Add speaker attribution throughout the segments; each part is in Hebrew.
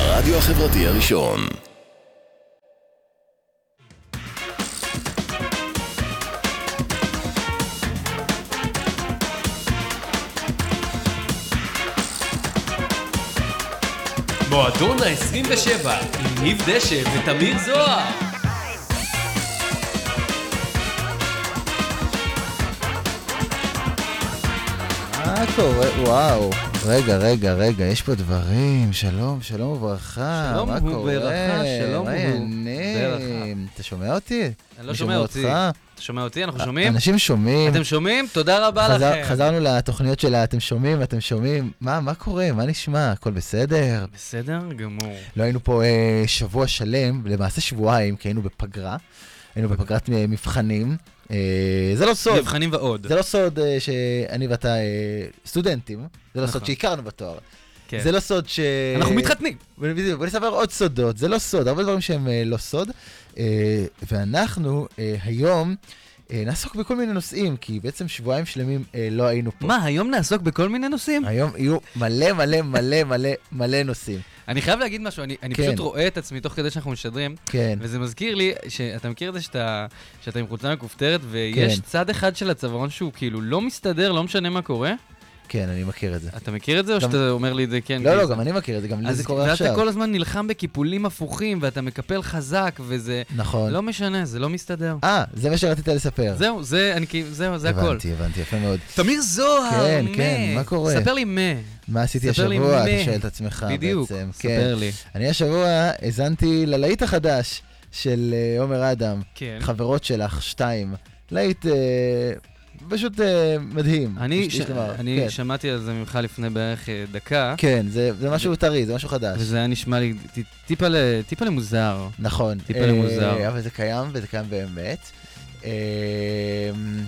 Speaker 1: הרדיו החברתי הראשון.
Speaker 2: מועדון ה-27 עם ניב דשא ותמיר זוהר
Speaker 3: מה קורה? וואו. רגע, רגע, רגע, יש פה דברים. שלום, שלום וברכה.
Speaker 4: שלום
Speaker 3: מה
Speaker 4: הוא
Speaker 3: קורה?
Speaker 4: ברכה, שלום
Speaker 3: מה
Speaker 4: הוא
Speaker 3: העניינים? אתה שומע אותי?
Speaker 4: אני לא שומע אותי.
Speaker 3: אותך?
Speaker 4: אתה שומע אותי? אנחנו שומעים?
Speaker 3: אנשים שומעים.
Speaker 4: אתם שומעים? תודה רבה
Speaker 3: חזר-
Speaker 4: לכם.
Speaker 3: חזרנו לתוכניות של ה- אתם שומעים, אתם שומעים. מה, מה קורה? מה נשמע? הכל בסדר?
Speaker 4: בסדר גמור.
Speaker 3: לא היינו פה אה, שבוע שלם, למעשה שבועיים, כי היינו בפגרה. היינו בפגרת אה, מבחנים. אה, זה לא סוד.
Speaker 4: מבחנים ועוד.
Speaker 3: זה לא סוד אה, שאני ואתה אה, סטודנטים, זה לא
Speaker 4: נכון.
Speaker 3: סוד שהכרנו בתואר.
Speaker 4: כן.
Speaker 3: זה לא סוד ש...
Speaker 4: אנחנו מתחתנים.
Speaker 3: בדיוק, בוא נספר עוד סודות, זה לא סוד, הרבה דברים שהם אה, לא סוד. אה, ואנחנו אה, היום אה, נעסוק בכל מיני נושאים, כי בעצם שבועיים שלמים אה, לא היינו פה.
Speaker 4: מה, היום נעסוק בכל מיני נושאים?
Speaker 3: היום יהיו מלא מלא מלא מלא מלא נושאים.
Speaker 4: אני חייב להגיד משהו, אני אני
Speaker 3: כן.
Speaker 4: פשוט רואה את עצמי תוך כדי שאנחנו משדרים,
Speaker 3: כן,
Speaker 4: וזה מזכיר לי, שאתה מכיר את זה שאתה שאתה עם חולצה מכופתרת, ויש
Speaker 3: כן.
Speaker 4: צד אחד של הצווארון שהוא כאילו לא מסתדר, לא משנה מה קורה?
Speaker 3: כן, אני מכיר את זה.
Speaker 4: אתה מכיר את זה, או
Speaker 3: גם-
Speaker 4: שאתה אומר לי את זה כן?
Speaker 3: לא,
Speaker 4: כאילו?
Speaker 3: לא, גם אני מכיר את זה, גם לי
Speaker 4: אז
Speaker 3: זה קורה
Speaker 4: ואתה
Speaker 3: עכשיו.
Speaker 4: כל הזמן נלחם בקיפולים הפוכים, ואתה מקפל חזק, וזה...
Speaker 3: נכון.
Speaker 4: לא משנה, זה לא מסתדר.
Speaker 3: אה, זה מה שרצית לספר.
Speaker 4: זהו, זה, אני כאילו, זהו, זה הכל.
Speaker 3: הבנתי, הבנתי, יפה מאוד.
Speaker 4: תמיר זוהר,
Speaker 3: כן,
Speaker 4: מה?
Speaker 3: כן, מה קורה?
Speaker 4: ספר לי מה.
Speaker 3: מה עשיתי
Speaker 4: ספר לי
Speaker 3: השבוע,
Speaker 4: מה.
Speaker 3: אתה שואל את עצמך
Speaker 4: בדיוק,
Speaker 3: בעצם.
Speaker 4: ספר לי.
Speaker 3: כן. אני השבוע האזנתי ללהיט החדש של אה, עומר אדם,
Speaker 4: כן.
Speaker 3: חברות שלך, שתיים. להיט אה, פשוט אה, מדהים.
Speaker 4: אני,
Speaker 3: יש-
Speaker 4: ש...
Speaker 3: יש לומר,
Speaker 4: אני
Speaker 3: כן.
Speaker 4: שמעתי על זה ממך לפני בערך אה, דקה,
Speaker 3: כן, זה זה משהו טרי, זה משהו חדש.
Speaker 4: וזה היה נשמע לי ט- טיפה ל- טיפה למוזר.
Speaker 3: נכון.
Speaker 4: טיפה לא
Speaker 3: אה,
Speaker 4: מוזר.
Speaker 3: אבל זה קיים, וזה קיים באמת. אה,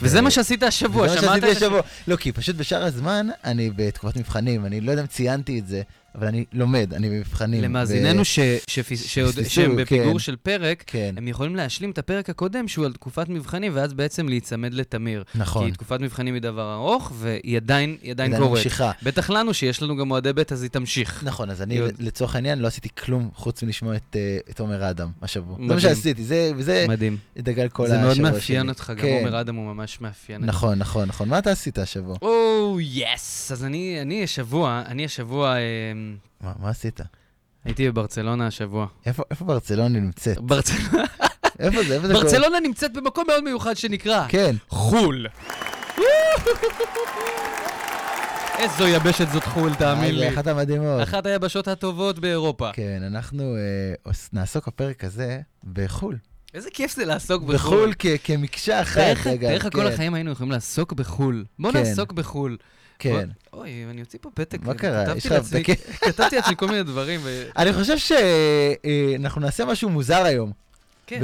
Speaker 4: וזה
Speaker 3: ו-
Speaker 4: מה שעשית השבוע,
Speaker 3: זה מה
Speaker 4: שמעת?
Speaker 3: שעשיתי
Speaker 4: את ה-
Speaker 3: השבוע. לא, כי פשוט בשאר הזמן, אני בתקופת מבחנים, אני לא יודע אם ציינתי את זה, אבל אני לומד, אני במבחנים.
Speaker 4: למאזיננו
Speaker 3: ו-
Speaker 4: ש... שפיס- שעוד-
Speaker 3: שפספסו,
Speaker 4: שהם
Speaker 3: כן.
Speaker 4: בפיגור של פרק,
Speaker 3: כן,
Speaker 4: הם יכולים להשלים את הפרק הקודם שהוא על תקופת מבחנים, ואז בעצם להיצמד לתמיר.
Speaker 3: נכון.
Speaker 4: כי תקופת מבחנים היא דבר ארוך, והיא עדיין, היא עדיין
Speaker 3: עדיין
Speaker 4: קורית.
Speaker 3: ממשיכה.
Speaker 4: בטח לנו, שיש לנו גם אוהדי בית, אז היא תמשיך.
Speaker 3: נכון, אז אני
Speaker 4: היא עוד-
Speaker 3: לצורך העניין לא עשיתי כלום חוץ מלשמוע את אה, את עומר אדם השבוע. זה
Speaker 4: מדהים.
Speaker 3: מה שעשיתי, זה וזה
Speaker 4: מדהים.
Speaker 3: דגל כל
Speaker 4: זה
Speaker 3: השבוע
Speaker 4: מאוד
Speaker 3: שלי.
Speaker 4: מאפיין אותך, גם
Speaker 3: כן,
Speaker 4: עומר אדם הוא ממש מאפיין אותך.
Speaker 3: נכון, נכון, נכון. מה אתה עשית השבוע?
Speaker 4: או, יס! אז אני, אני השבוע, אני השבוע, אמ,
Speaker 3: מה מה עשית?
Speaker 4: הייתי בברצלונה השבוע.
Speaker 3: איפה איפה ברצלונה נמצאת?
Speaker 4: ברצ...
Speaker 3: איפה זה? איפה זה? קורה?
Speaker 4: ברצלונה נמצאת במקום מאוד מיוחד שנקרא
Speaker 3: כן.
Speaker 4: חו"ל. איזו יבשת זאת חו"ל, תאמין
Speaker 3: אה,
Speaker 4: לי.
Speaker 3: זה אחת המדהימות.
Speaker 4: אחת היבשות הטובות באירופה.
Speaker 3: כן, אנחנו אה, עוס- נעסוק בפרק הזה בחו"ל.
Speaker 4: איזה כיף זה לעסוק בחו"ל.
Speaker 3: בחו"ל כ- כמקשה אחת.
Speaker 4: תאר לך-
Speaker 3: רגע,
Speaker 4: תאר לך כל
Speaker 3: כן,
Speaker 4: החיים היינו יכולים לעסוק בחו"ל. בוא
Speaker 3: כן.
Speaker 4: נעסוק בחו"ל.
Speaker 3: כן.
Speaker 4: בוא- אוי, אני אוציא פה פתק. אה,
Speaker 3: מה קרה?
Speaker 4: כתבתי
Speaker 3: יש לך
Speaker 4: לעצמי-
Speaker 3: הפתקים?
Speaker 4: כתבתי לעצמי כל מיני דברים. ו-
Speaker 3: אני חושב שאנחנו נעשה משהו מוזר היום.
Speaker 4: כן.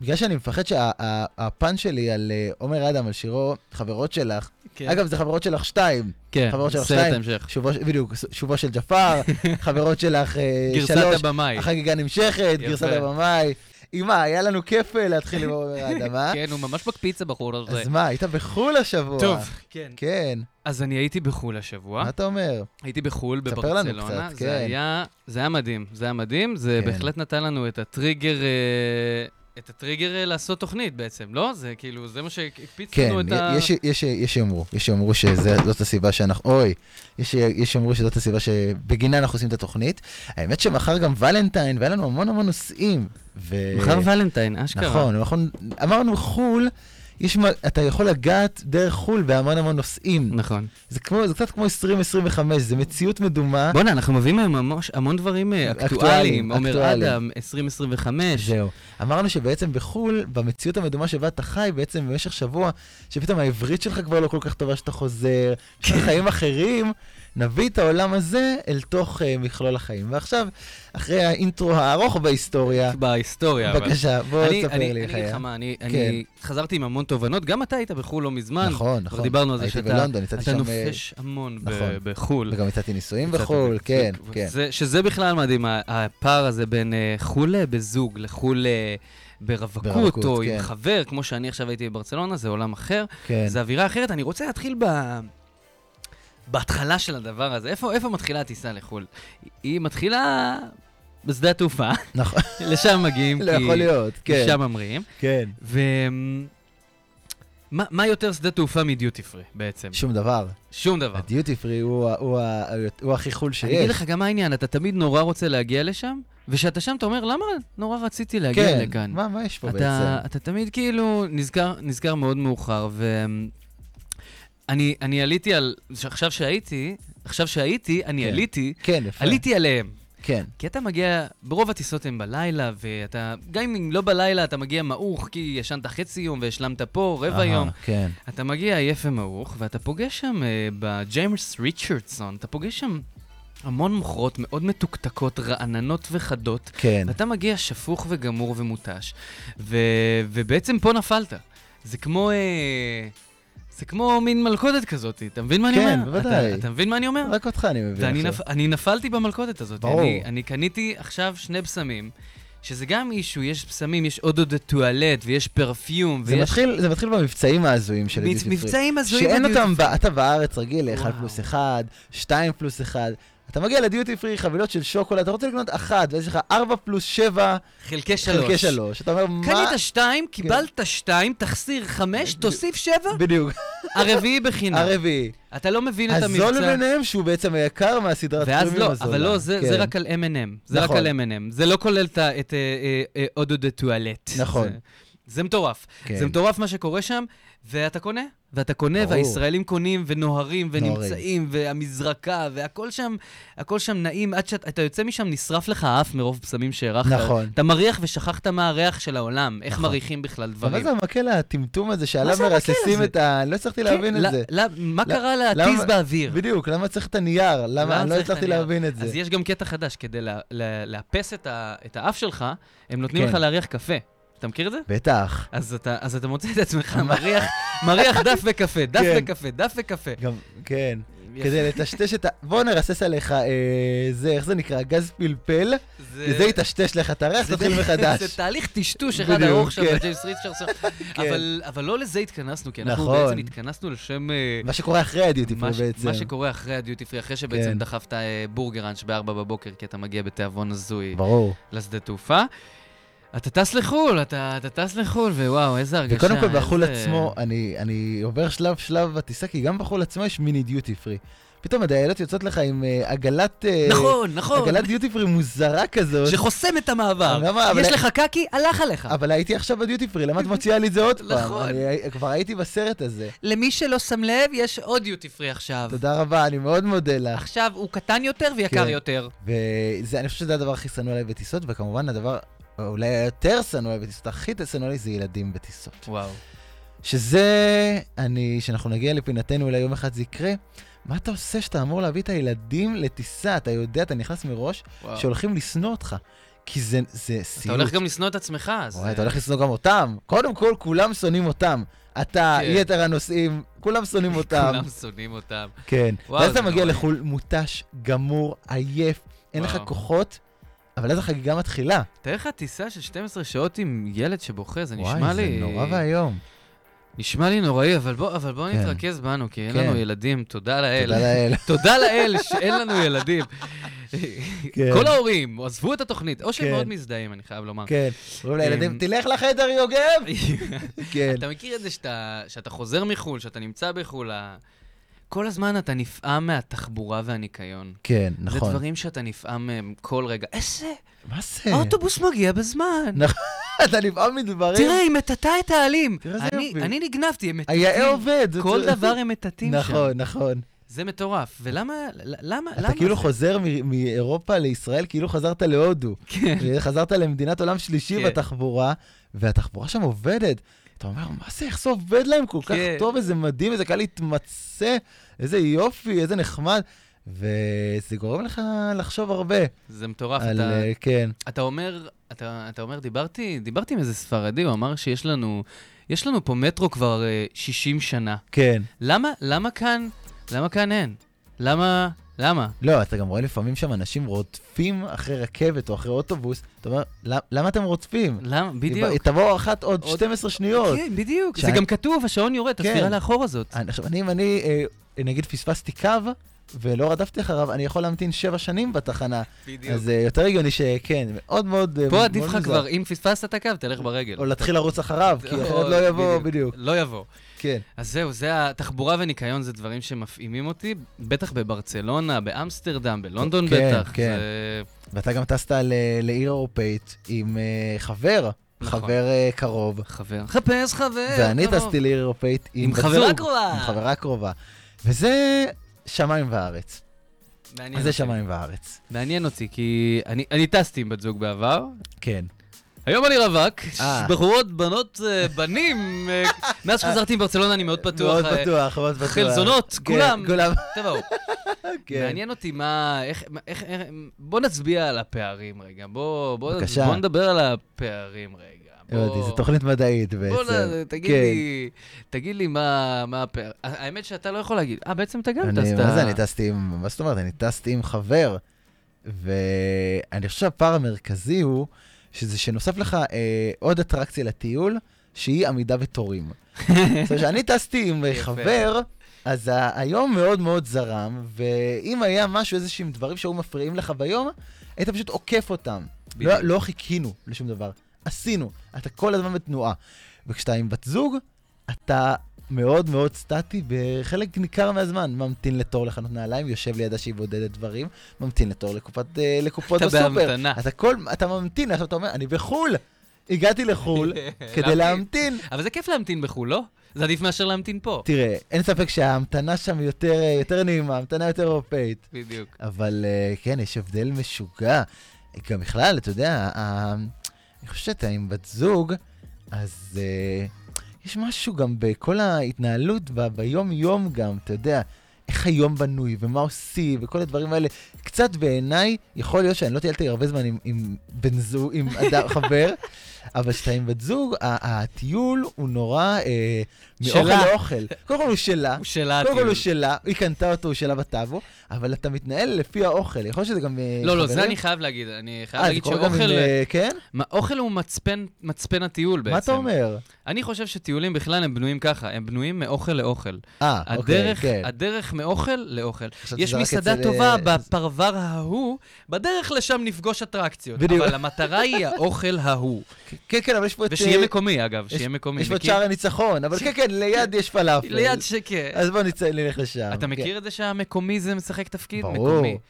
Speaker 3: בגלל שאני מפחד שהפן שלי על אה, עומר אדם, על שירו חברות שלך,
Speaker 4: כן.
Speaker 3: אגב, זה חברות שלך שתיים,
Speaker 4: כן,
Speaker 3: חברות שלך
Speaker 4: סרט
Speaker 3: שתיים.
Speaker 4: המשך.
Speaker 3: שובו- בדיוק, שובו של ג'פר, חברות שלך אה, שלוש,
Speaker 4: גרסת הבמאי.
Speaker 3: החגיגה נמשכת,
Speaker 4: יפה.
Speaker 3: גרסת הבמאי. אמא, היה לנו כיף אה, להתחיל עם עומר אדם, אה?
Speaker 4: כן, הוא ממש מקפיץ הבחור הזה.
Speaker 3: אז מה, היית בחו"ל השבוע.
Speaker 4: טוב, כן.
Speaker 3: כן,
Speaker 4: אז אני הייתי בחו"ל השבוע.
Speaker 3: מה אתה אומר?
Speaker 4: הייתי בחו"ל
Speaker 3: ספר
Speaker 4: בברצלונה.
Speaker 3: לנו קצת,
Speaker 4: זה
Speaker 3: כן.
Speaker 4: היה, זה היה מדהים, זה היה מדהים. זה
Speaker 3: כן.
Speaker 4: בהחלט נתן לנו את הטריגר... אה, את הטריגר אה, לעשות תוכנית בעצם, לא? זה כאילו, זה מה שהקפיץ
Speaker 3: כן,
Speaker 4: לנו את
Speaker 3: י-
Speaker 4: ה...
Speaker 3: יש- יש- יש שיאמרו, יש שיאמרו שזאת הסיבה שאנחנו, אוי, יש יש שיאמרו שזאת הסיבה שבגינה אנחנו עושים את התוכנית. האמת שמחר גם ולנטיין, והיה לנו המון המון נושאים. ו-
Speaker 4: מחר ולנטיין, אשכרה.
Speaker 3: נכון, נכון, אמרנו חו"ל, יש מה, אתה יכול לגעת דרך חו"ל בהמון המון נושאים.
Speaker 4: נכון.
Speaker 3: זה כמו, זה קצת כמו 2025, זה מציאות מדומה.
Speaker 4: בואנה, אנחנו מביאים היום ממש המון דברים אה,
Speaker 3: אקטואליים,
Speaker 4: אקטואליים. עומר
Speaker 3: אקטואליים.
Speaker 4: אדם, 2025.
Speaker 3: זהו. אמרנו שבעצם בחו"ל, במציאות המדומה שבה אתה חי בעצם במשך שבוע, שפתאום העברית שלך כבר לא כל כך טובה שאתה חוזר, יש
Speaker 4: כן.
Speaker 3: לך חיים אחרים, נביא את העולם הזה אל תוך uh, מכלול החיים. ועכשיו, אחרי האינטרו הארוך בהיסטוריה,
Speaker 4: בהיסטוריה. כן, אבל.
Speaker 3: בבקשה, בוא
Speaker 4: אני,
Speaker 3: תספר
Speaker 4: אני,
Speaker 3: לי
Speaker 4: אני
Speaker 3: איך
Speaker 4: אגיד לך
Speaker 3: היה.
Speaker 4: מה, אני,
Speaker 3: כן.
Speaker 4: אני חזרתי עם המון תובנות, גם אתה היית בחו"ל לא מזמן.
Speaker 3: נכון, נכון.
Speaker 4: כבר דיברנו על זה
Speaker 3: הייתי
Speaker 4: שאתה
Speaker 3: בלונדון, הצעתי
Speaker 4: אתה
Speaker 3: שם, אה,
Speaker 4: נופש המון ב-
Speaker 3: נכון.
Speaker 4: בחו"ל.
Speaker 3: וגם הצעתי נישואים
Speaker 4: קצת
Speaker 3: בחו"ל,
Speaker 4: ו-
Speaker 3: כן,
Speaker 4: ו-
Speaker 3: כן.
Speaker 4: זה- שזה בכלל מדהים, ה- הפער הזה בין אה, חו"ל אה, בזוג לחו"ל אה,
Speaker 3: ברווקות,
Speaker 4: ברווקות, או
Speaker 3: כן.
Speaker 4: עם חבר, כמו שאני עכשיו הייתי בברצלונה, זה עולם אחר,
Speaker 3: כן.
Speaker 4: זה אווירה אחרת. אני רוצה להתחיל ב... בהתחלה של הדבר הזה, איפה, איפה מתחילה הטיסה לחו"ל? היא מתחילה בשדה התעופה,
Speaker 3: נכון,
Speaker 4: לשם מגיעים,
Speaker 3: לא
Speaker 4: כי
Speaker 3: יכול להיות, כן,
Speaker 4: שם ממריאים.
Speaker 3: כן.
Speaker 4: ו... מה, מה יותר שדה תעופה מדיוטי פרי בעצם? ש...
Speaker 3: שום דבר.
Speaker 4: שום דבר.
Speaker 3: הדיוטי פרי הוא ה- הוא ה- הוא הכי חול שיש.
Speaker 4: אני אגיד לך גם מה העניין, אתה תמיד נורא רוצה להגיע לשם, וכשאתה שם אתה אומר, למה נורא רציתי להגיע
Speaker 3: כן,
Speaker 4: לכאן?
Speaker 3: מה מה יש פה
Speaker 4: אתה,
Speaker 3: בעצם?
Speaker 4: אתה תמיד כאילו נזכר, נזכר מאוד מאוחר, ואני אני עליתי על... עכשיו שהייתי, עכשיו שהייתי, אני
Speaker 3: כן.
Speaker 4: עליתי,
Speaker 3: כן, יפה.
Speaker 4: עליתי עליהם.
Speaker 3: כן,
Speaker 4: כי אתה מגיע, ברוב הטיסות הן בלילה, ואתה, גם אם לא בלילה, אתה מגיע מעוך, כי ישנת חצי יום והשלמת פה, רבע
Speaker 3: אהה,
Speaker 4: יום.
Speaker 3: כן.
Speaker 4: אתה מגיע עייף ומעוך, ואתה פוגש שם, אה, בג'יימס ריצ'רדסון, אתה פוגש שם המון מוכרות מאוד מתוקתקות, רעננות וחדות,
Speaker 3: כן.
Speaker 4: ואתה מגיע שפוך וגמור ומותש, ו... ובעצם פה נפלת. זה כמו... אה... זה כמו מין מלכודת כזאת, אתה מבין מה אני
Speaker 3: כן,
Speaker 4: אומר?
Speaker 3: בוודאי.
Speaker 4: אתה, אתה מבין מה אני אומר?
Speaker 3: רק אותך אני מבין.
Speaker 4: ואני נפ...
Speaker 3: עכשיו.
Speaker 4: אני נפלתי במלכודת הזאת.
Speaker 3: ברור.
Speaker 4: אני, אני קניתי עכשיו שני בשמים, שזה גם אישו, יש בשמים, יש אודו דה טואלט, ויש פרפיום,
Speaker 3: זה
Speaker 4: ויש...
Speaker 3: מתחיל- זה מתחיל במבצעים ההזויים של
Speaker 4: מצ-
Speaker 3: הדיוטי פרי.
Speaker 4: מבצעים הזויים.
Speaker 3: שאין
Speaker 4: בדיוק.
Speaker 3: אותם, ב- אתה בארץ רגיל ל-1
Speaker 4: וואו.
Speaker 3: פלוס 1, 2 פלוס 1. אתה מגיע לדיוטי פרי חבילות של שוקולד, אתה רוצה לקנות אחת, ואז יש לך 4 פלוס 7
Speaker 4: חלקי שלוש.
Speaker 3: חלקי 3. אתה אומר, מה... כן.
Speaker 4: קנית שתיים, קיבלת שתיים, תחסיר חמש, תוסיף שבע,
Speaker 3: בדיוק,
Speaker 4: הרביעי בחינם.
Speaker 3: הרביעי.
Speaker 4: אתה לא מבין את
Speaker 3: הזול
Speaker 4: המבצע.
Speaker 3: ביניהם שהוא בעצם היקר מהסדרת
Speaker 4: ואז לא,
Speaker 3: פרימיום
Speaker 4: אבל לא, זה
Speaker 3: כן.
Speaker 4: זה רק על M&M. זה רק
Speaker 3: נכון.
Speaker 4: על M&M. זה לא כולל את ה- את, אה, אה, אודו דה טואלט.
Speaker 3: נכון.
Speaker 4: זה- זה מטורף.
Speaker 3: כן.
Speaker 4: זה מטורף מה שקורה שם, ואתה קונה. ואתה קונה,
Speaker 3: ברור.
Speaker 4: והישראלים קונים, ונוהרים,
Speaker 3: נוהרים.
Speaker 4: ונמצאים, והמזרקה, והכל שם, הכל שם נעים, עד שאתה יוצא משם, נשרף לך האף מרוב בשמים שהארכת.
Speaker 3: נכון.
Speaker 4: אתה מריח ושכחת מה הריח של העולם, איך מריחים בכלל
Speaker 3: אבל מה
Speaker 4: דברים.
Speaker 3: זה המקל הטמטום הזה שעליו
Speaker 4: זה המקל
Speaker 3: מרססים
Speaker 4: הזה?
Speaker 3: את ה... לא הצלחתי להבין
Speaker 4: כן,
Speaker 3: את זה.
Speaker 4: ל- ל- מה
Speaker 3: ל-
Speaker 4: קרה
Speaker 3: למה-
Speaker 4: להטיס באוויר?
Speaker 3: בדיוק, למה צריך את הנייר? למה? אני לא
Speaker 4: צריך את
Speaker 3: הצלחתי
Speaker 4: הנייר.
Speaker 3: להבין את זה.
Speaker 4: אז יש גם קטע חדש, כדי לה- לה- לאפס את ה- את האף שלך, הם נותנים
Speaker 3: כן.
Speaker 4: לך להריח קפה. אתה מכיר את זה?
Speaker 3: בטח.
Speaker 4: אז אתה, אז אתה מוצא את עצמך מריח, מריח דף וקפה, דף
Speaker 3: כן.
Speaker 4: וקפה, דף וקפה.
Speaker 3: גם, כן. כדי לטשטש את ה... בוא נרסס עליך, אה, זה, איך זה נקרא? גז פלפל, וזה יטשטש לך את הריח,
Speaker 4: אה, זה-
Speaker 3: תתחיל מחדש.
Speaker 4: זה תהליך טשטוש אחד
Speaker 3: בדיוק,
Speaker 4: ארוך שם,
Speaker 3: כן.
Speaker 4: בג'יימס ריצ'רסון. אבל- אבל לא לזה התכנסנו, כי אנחנו
Speaker 3: נכון.
Speaker 4: בעצם התכנסנו לשם... אה,
Speaker 3: מה שקורה אחרי הדיוטי
Speaker 4: מה
Speaker 3: פרי
Speaker 4: ש-
Speaker 3: בעצם.
Speaker 4: מה שקורה אחרי הדיוטי פרי, אחרי שבעצם
Speaker 3: כן.
Speaker 4: דחפת אה, בורגראנץ' בארבע בבוקר, כי אתה מגיע בתיאבון הזוי
Speaker 3: ברור.
Speaker 4: לשדה תעופה. אתה טס לחו"ל, אתה אתה טס לחו"ל, ווואו, איזה הרגשה.
Speaker 3: וקודם כל בחו"ל
Speaker 4: איזה-
Speaker 3: עצמו, אני, אני עובר שלב שלב בטיסה, כי גם בחו"ל עצמו יש מיני דיוטי פרי. פתאום הדיילות יוצאות לך עם אה, עגלת... אה,
Speaker 4: נכון, נכון.
Speaker 3: עגלת דיוטי פרי מוזרה כזאת.
Speaker 4: שחוסם את המעבר.
Speaker 3: אבל למה? אה, אבל-
Speaker 4: יש לך קקי, הלך עליך.
Speaker 3: אבל הייתי עכשיו בדיוטי פרי, למה את מוציאה לי את זה עוד פעם?
Speaker 4: נכון.
Speaker 3: אני אה, כבר הייתי בסרט הזה.
Speaker 4: למי שלא שם לב, יש עוד דיוטי פרי עכשיו.
Speaker 3: תודה רבה, אני מאוד מודה לך.
Speaker 4: עכשיו הוא קטן יותר ויקר
Speaker 3: כן.
Speaker 4: יותר.
Speaker 3: וזה, אני חושב שזה הדבר הכי שנוא עליי בטיסות, וכמובן הדבר אולי היותר שנוא עליי בטיסות, הכי שנוא עליי זה ילדים בטיסות.
Speaker 4: וואו.
Speaker 3: שזה, אני, שאנחנו נגיע לפינתנו, אולי יום אחד זה יקרה. מה אתה עושה שאתה אמור להביא את הילדים לטיסה? אתה יודע, אתה נכנס מראש, שהולכים לשנוא אותך. כי זה, זה
Speaker 4: אתה
Speaker 3: סיוט.
Speaker 4: הולך גם לשנוא את עצמך, אז...
Speaker 3: וואי, אתה הולך לשנוא גם אותם. קודם כל, כולם שונאים אותם. אתה,
Speaker 4: כן.
Speaker 3: יתר הנוסעים, כולם שונאים אותם.
Speaker 4: אה, כולם שונאים אותם.
Speaker 3: כן.
Speaker 4: וואו,
Speaker 3: ואז אתה
Speaker 4: זה
Speaker 3: מגיע
Speaker 4: נוראי.
Speaker 3: לחו"ל מותש, גמור, עייף, אין לך
Speaker 4: וואו.
Speaker 3: כוחות, אבל אז החגיגה מתחילה.
Speaker 4: תאר לך טיסה של 12 שעות עם ילד שבוכה, זה נשמע
Speaker 3: וואי,
Speaker 4: לי...
Speaker 3: זה נורא ואיום.
Speaker 4: נשמע לי נוראי, אבל בוא, אבל בוא
Speaker 3: כן.
Speaker 4: נתרכז בנו, כי אין
Speaker 3: כן.
Speaker 4: לנו ילדים, תודה לאל.
Speaker 3: תודה לאל.
Speaker 4: תודה לאל שאין לנו ילדים.
Speaker 3: כן.
Speaker 4: כל ההורים עזבו את התוכנית, או שהם
Speaker 3: כן.
Speaker 4: מאוד מזדהים, אני חייב לומר.
Speaker 3: כן. אומרים לילדים,
Speaker 4: אמ,
Speaker 3: תלך לחדר, יוגב! כן.
Speaker 4: אתה מכיר את זה שאתה, שאתה חוזר מחו"ל, שאתה נמצא בחו"ל, ה- כל הזמן אתה נפעם מהתחבורה והניקיון.
Speaker 3: כן,
Speaker 4: זה
Speaker 3: נכון.
Speaker 4: דברים שאתה נפעם מהם כל רגע. איזה,
Speaker 3: מה זה?
Speaker 4: האוטובוס מגיע בזמן.
Speaker 3: אתה נבעם מדברים.
Speaker 4: תראה, היא מטאטה את העלים.
Speaker 3: נכון. תראה איזה
Speaker 4: אני-
Speaker 3: יופי.
Speaker 4: אני נגנבתי, הם
Speaker 3: היאה
Speaker 4: מטאטים.
Speaker 3: עובד.
Speaker 4: כל דבר הם מטאטים שם.
Speaker 3: נכון, נכון.
Speaker 4: זה מטורף. ולמה, ל- למה, למה?
Speaker 3: אתה כאילו
Speaker 4: זה?
Speaker 3: חוזר מ- מאירופה לישראל, כאילו חזרת להודו.
Speaker 4: כן.
Speaker 3: חזרת למדינת עולם שלישי
Speaker 4: כן.
Speaker 3: בתחבורה, והתחבורה שם עובדת. אתה אומר, מה זה, איך זה עובד להם כל כך
Speaker 4: כן.
Speaker 3: טוב, איזה מדהים, איזה קל להתמצא, איזה יופי, איזה נחמד. וזה גורם לך לחשוב הרבה
Speaker 4: זה מטורף.
Speaker 3: על...
Speaker 4: אתה-
Speaker 3: אה, כן,
Speaker 4: אתה אומר, אתה, אתה אומר, דיברתי, דיברתי עם איזה ספרדי, הוא אמר שיש לנו, יש לנו פה מטרו כבר אה, 60 שנה.
Speaker 3: כן.
Speaker 4: למה, למה כאן, למה כאן אין? למה, למה?
Speaker 3: לא, אתה גם רואה לפעמים שם אנשים רודפים אחרי רכבת או אחרי אוטובוס, אתה אומר, "למ- למה אתם רודפים?
Speaker 4: למה, בדיוק.
Speaker 3: תבואו אחת עוד
Speaker 4: עוד-
Speaker 3: 12 שניות.
Speaker 4: כן, בדיוק. זה
Speaker 3: שאני-
Speaker 4: גם כתוב, השעון יורד,
Speaker 3: כן.
Speaker 4: הספירה לאחור הזאת.
Speaker 3: אני- עכשיו, אני, אם אני אה, נגיד פספסתי קו ולא רדפתי אחריו, אני יכול להמתין שבע שנים בתחנה.
Speaker 4: בדיוק.
Speaker 3: אז אה, יותר הגיוני שכן, מאוד מאוד... אה,
Speaker 4: פה עדיף
Speaker 3: מאוד
Speaker 4: לך
Speaker 3: מוזר.
Speaker 4: כבר, נכון, אם פספסת את הקו, תלך ברגל.
Speaker 3: או להתחיל לרוץ אחריו, כי אחרת לא יבוא, בדיוק.
Speaker 4: לא יבוא.
Speaker 3: כן.
Speaker 4: אז זהו, זה התחבורה וניקיון זה דברים שמפעימים אותי, בטח בברצלונה, באמסטרדם, בלונדון
Speaker 3: כן,
Speaker 4: בטח.
Speaker 3: כן.
Speaker 4: זה-
Speaker 3: ואתה גם טסת ל- לעיר אירופאית עם אה, חבר,
Speaker 4: נכון.
Speaker 3: חבר אה, קרוב.
Speaker 4: חבר. חפש חבר.
Speaker 3: ואני
Speaker 4: קרוב.
Speaker 3: טסתי לעיר אירופאית עם
Speaker 4: עם
Speaker 3: בת
Speaker 4: חברה
Speaker 3: זוג,
Speaker 4: קרובה.
Speaker 3: עם חברה קרובה. וזה שמיים וארץ.
Speaker 4: מעניין
Speaker 3: אז זה
Speaker 4: אותי.
Speaker 3: שמיים וארץ.
Speaker 4: מעניין אותי, כי אני- אני טסתי עם בת זוג בעבר.
Speaker 3: כן.
Speaker 4: היום אני רווק,
Speaker 3: אה.
Speaker 4: בחורות, בנות, אה, בנים. אה, מאז שחזרתי מברצלונה אני מאוד פתוח.
Speaker 3: מאוד
Speaker 4: אה,
Speaker 3: פתוח, מאוד פתוח.
Speaker 4: חלזונות,
Speaker 3: כן,
Speaker 4: כולם.
Speaker 3: כולם,
Speaker 4: תבואו.
Speaker 3: כן.
Speaker 4: מעניין אותי מה, איך, מה- איך, איך, בוא נצביע על הפערים רגע, בוא, בוא,
Speaker 3: בבקשה.
Speaker 4: בוא נדבר על הפערים רגע. בוא,
Speaker 3: הבנתי, זו תוכנית מדעית בעצם.
Speaker 4: בוא, נ- תגיד
Speaker 3: כן.
Speaker 4: לי, תגיד לי מה, מה הפער. האמת שאתה לא יכול להגיד, אה, בעצם אתה גם
Speaker 3: אני-
Speaker 4: טסת.
Speaker 3: מה זה, אני טסתי עם, מה זאת אומרת, אני טסתי עם חבר, ואני חושב שהפער המרכזי הוא, שזה שנוסף לך אה, עוד אטרקציה לטיול, שהיא עמידה בתורים. זאת אומרת, כשאני טסתי עם אה,
Speaker 4: יפה.
Speaker 3: חבר, אז ה- היום מאוד מאוד זרם, ואם היה משהו, איזשהם דברים שהיו מפריעים לך ביום, היית פשוט עוקף אותם.
Speaker 4: בדיוק.
Speaker 3: לא, לא חיכינו לשום דבר, עשינו. אתה כל הזמן בתנועה. וכשאתה עם בת זוג, אתה מאוד מאוד סטטי בחלק ניכר מהזמן. ממתין לתור לחנות נעליים, יושב לידה שהיא בודדת דברים, ממתין לתור לקופת, אה, לקופות
Speaker 4: אתה
Speaker 3: בסופר.
Speaker 4: בהמתנה.
Speaker 3: אתה כל, אתה ממתין, עכשיו אתה אומר, אני בחו"ל. הגעתי לחו"ל כדי להמתין.
Speaker 4: אבל זה כיף להמתין בחו"ל, לא? זה עדיף מאשר להמתין פה.
Speaker 3: תראה, אין ספק שההמתנה שם יותר, אה, יותר נעימה, המתנה יותר אירופאית.
Speaker 4: בדיוק.
Speaker 3: אבל אה, כן, יש הבדל משוגע. גם בכלל, אתה יודע, ה- אני חושב שאתה עם בת זוג, אז אה, יש משהו גם בכל ההתנהלות, ב- ביום-יום גם, אתה יודע, איך היום בנוי, ומה עושים, וכל הדברים האלה. קצת בעיניי, יכול להיות שאני לא טיילתי הרבה זמן עם, עם בן זוג, עם אדם, חבר, אבל כשאתה עם בת זוג, ה- הטיול הוא נורא אה, מאוכל
Speaker 4: שלה.
Speaker 3: לאוכל. קודם כל הוא שלה.
Speaker 4: הוא שלה כאילו.
Speaker 3: קודם כל הוא
Speaker 4: הטיול.
Speaker 3: שלה, היא קנתה אותו, הוא שלה בטאבו, אבל אתה מתנהל לפי האוכל, יכול להיות שזה גם... אה,
Speaker 4: לא, לא,
Speaker 3: חברים?
Speaker 4: זה אני חייב להגיד. אני חייב
Speaker 3: אה, זה
Speaker 4: להגיד
Speaker 3: קורה גם עם...
Speaker 4: שאוכל...
Speaker 3: אה, כן?
Speaker 4: מה, אוכל הוא מצפן, מצפן הטיול בעצם.
Speaker 3: מה אתה אומר?
Speaker 4: אני חושב שטיולים בכלל הם בנויים ככה, הם בנויים מאוכל לאוכל.
Speaker 3: אה, אוקיי,
Speaker 4: הדרך,
Speaker 3: כן.
Speaker 4: הדרך מאוכל לאוכל.
Speaker 3: חשבתי
Speaker 4: יש
Speaker 3: שזה רק
Speaker 4: מסעדה
Speaker 3: אצל,
Speaker 4: טובה
Speaker 3: אה,
Speaker 4: בפרבר ההוא, בדרך לשם נפגוש אטרקציות.
Speaker 3: בדיוק.
Speaker 4: אבל המטרה היא האוכל ההוא.
Speaker 3: כן, כן, אבל יש פה את...
Speaker 4: ושיהיה
Speaker 3: אה,
Speaker 4: מקומי, אגב, שיהיה מקומי.
Speaker 3: יש פה את
Speaker 4: מכיר?
Speaker 3: שער הניצחון, אבל כן, כן, ליד יש פלאפל.
Speaker 4: ליד שקר.
Speaker 3: אז בוא נצא- נלך לשם.
Speaker 4: אתה
Speaker 3: כן.
Speaker 4: מכיר את זה שהמקומי זה משחק תפקיד?
Speaker 3: ברור.
Speaker 4: מקומי.
Speaker 3: אתה- אה,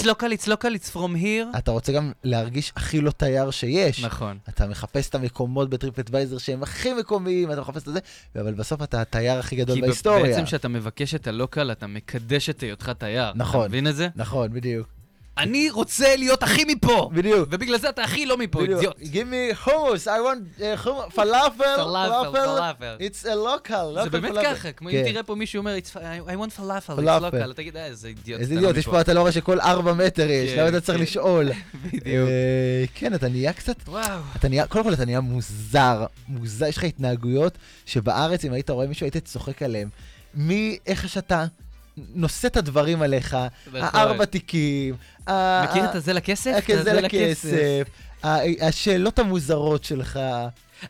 Speaker 4: It's local, it's local, it's from here.
Speaker 3: אתה רוצה גם להרגיש הכי לא תייר שיש.
Speaker 4: נכון.
Speaker 3: אתה מחפש את המקומות בטריפדוויזר שהם הכי מקומיים, אתה מחפש את זה, אבל בסוף אתה התייר הכי גדול
Speaker 4: כי ב-
Speaker 3: בהיסטוריה.
Speaker 4: בעצם כשאתה מבקש את הלוקל, אתה מקדש את היותך תייר.
Speaker 3: נכון.
Speaker 4: אתה מבין את זה?
Speaker 3: נכון, בדיוק.
Speaker 4: אני רוצה להיות הכי מפה!
Speaker 3: בדיוק.
Speaker 4: ובגלל זה אתה הכי לא מפה,
Speaker 3: בדיוק.
Speaker 4: אידיוט.
Speaker 3: Give me hummus, I want uh, hummus, falafel,
Speaker 4: פלאפל, פלאפל.
Speaker 3: It's a local, local
Speaker 4: זה באמת
Speaker 3: falafel.
Speaker 4: ככה, כמו אם
Speaker 3: כן.
Speaker 4: תראה פה מישהו אומר, "It's- I I want falafel, it's
Speaker 3: פלאפל.
Speaker 4: local, תגיד, אה, איזה אידיוט.
Speaker 3: איזה
Speaker 4: אתה לא
Speaker 3: אידיוט, יש
Speaker 4: מפה."
Speaker 3: פה, אתה לא רואה שכל ארבע מטר יש,
Speaker 4: כן,
Speaker 3: למה אתה צריך
Speaker 4: כן.
Speaker 3: לשאול?
Speaker 4: בדיוק.
Speaker 3: אה, כן, אתה נהיה קצת,
Speaker 4: וואו.
Speaker 3: אתה נהיה, קודם כל אתה נהיה מוזר, מוזר, יש לך התנהגויות שבארץ, אם היית רואה מישהו, היית צוחק עליהם. מאיך שאתה נושא את הדברים עליך,
Speaker 4: נכון.
Speaker 3: הארבע תיקים, ה-
Speaker 4: מכיר
Speaker 3: ה-
Speaker 4: את הזה לכסף? את
Speaker 3: הכסף
Speaker 4: הזה
Speaker 3: אה, כן, לכסף, ה- השאלות המוזרות שלך,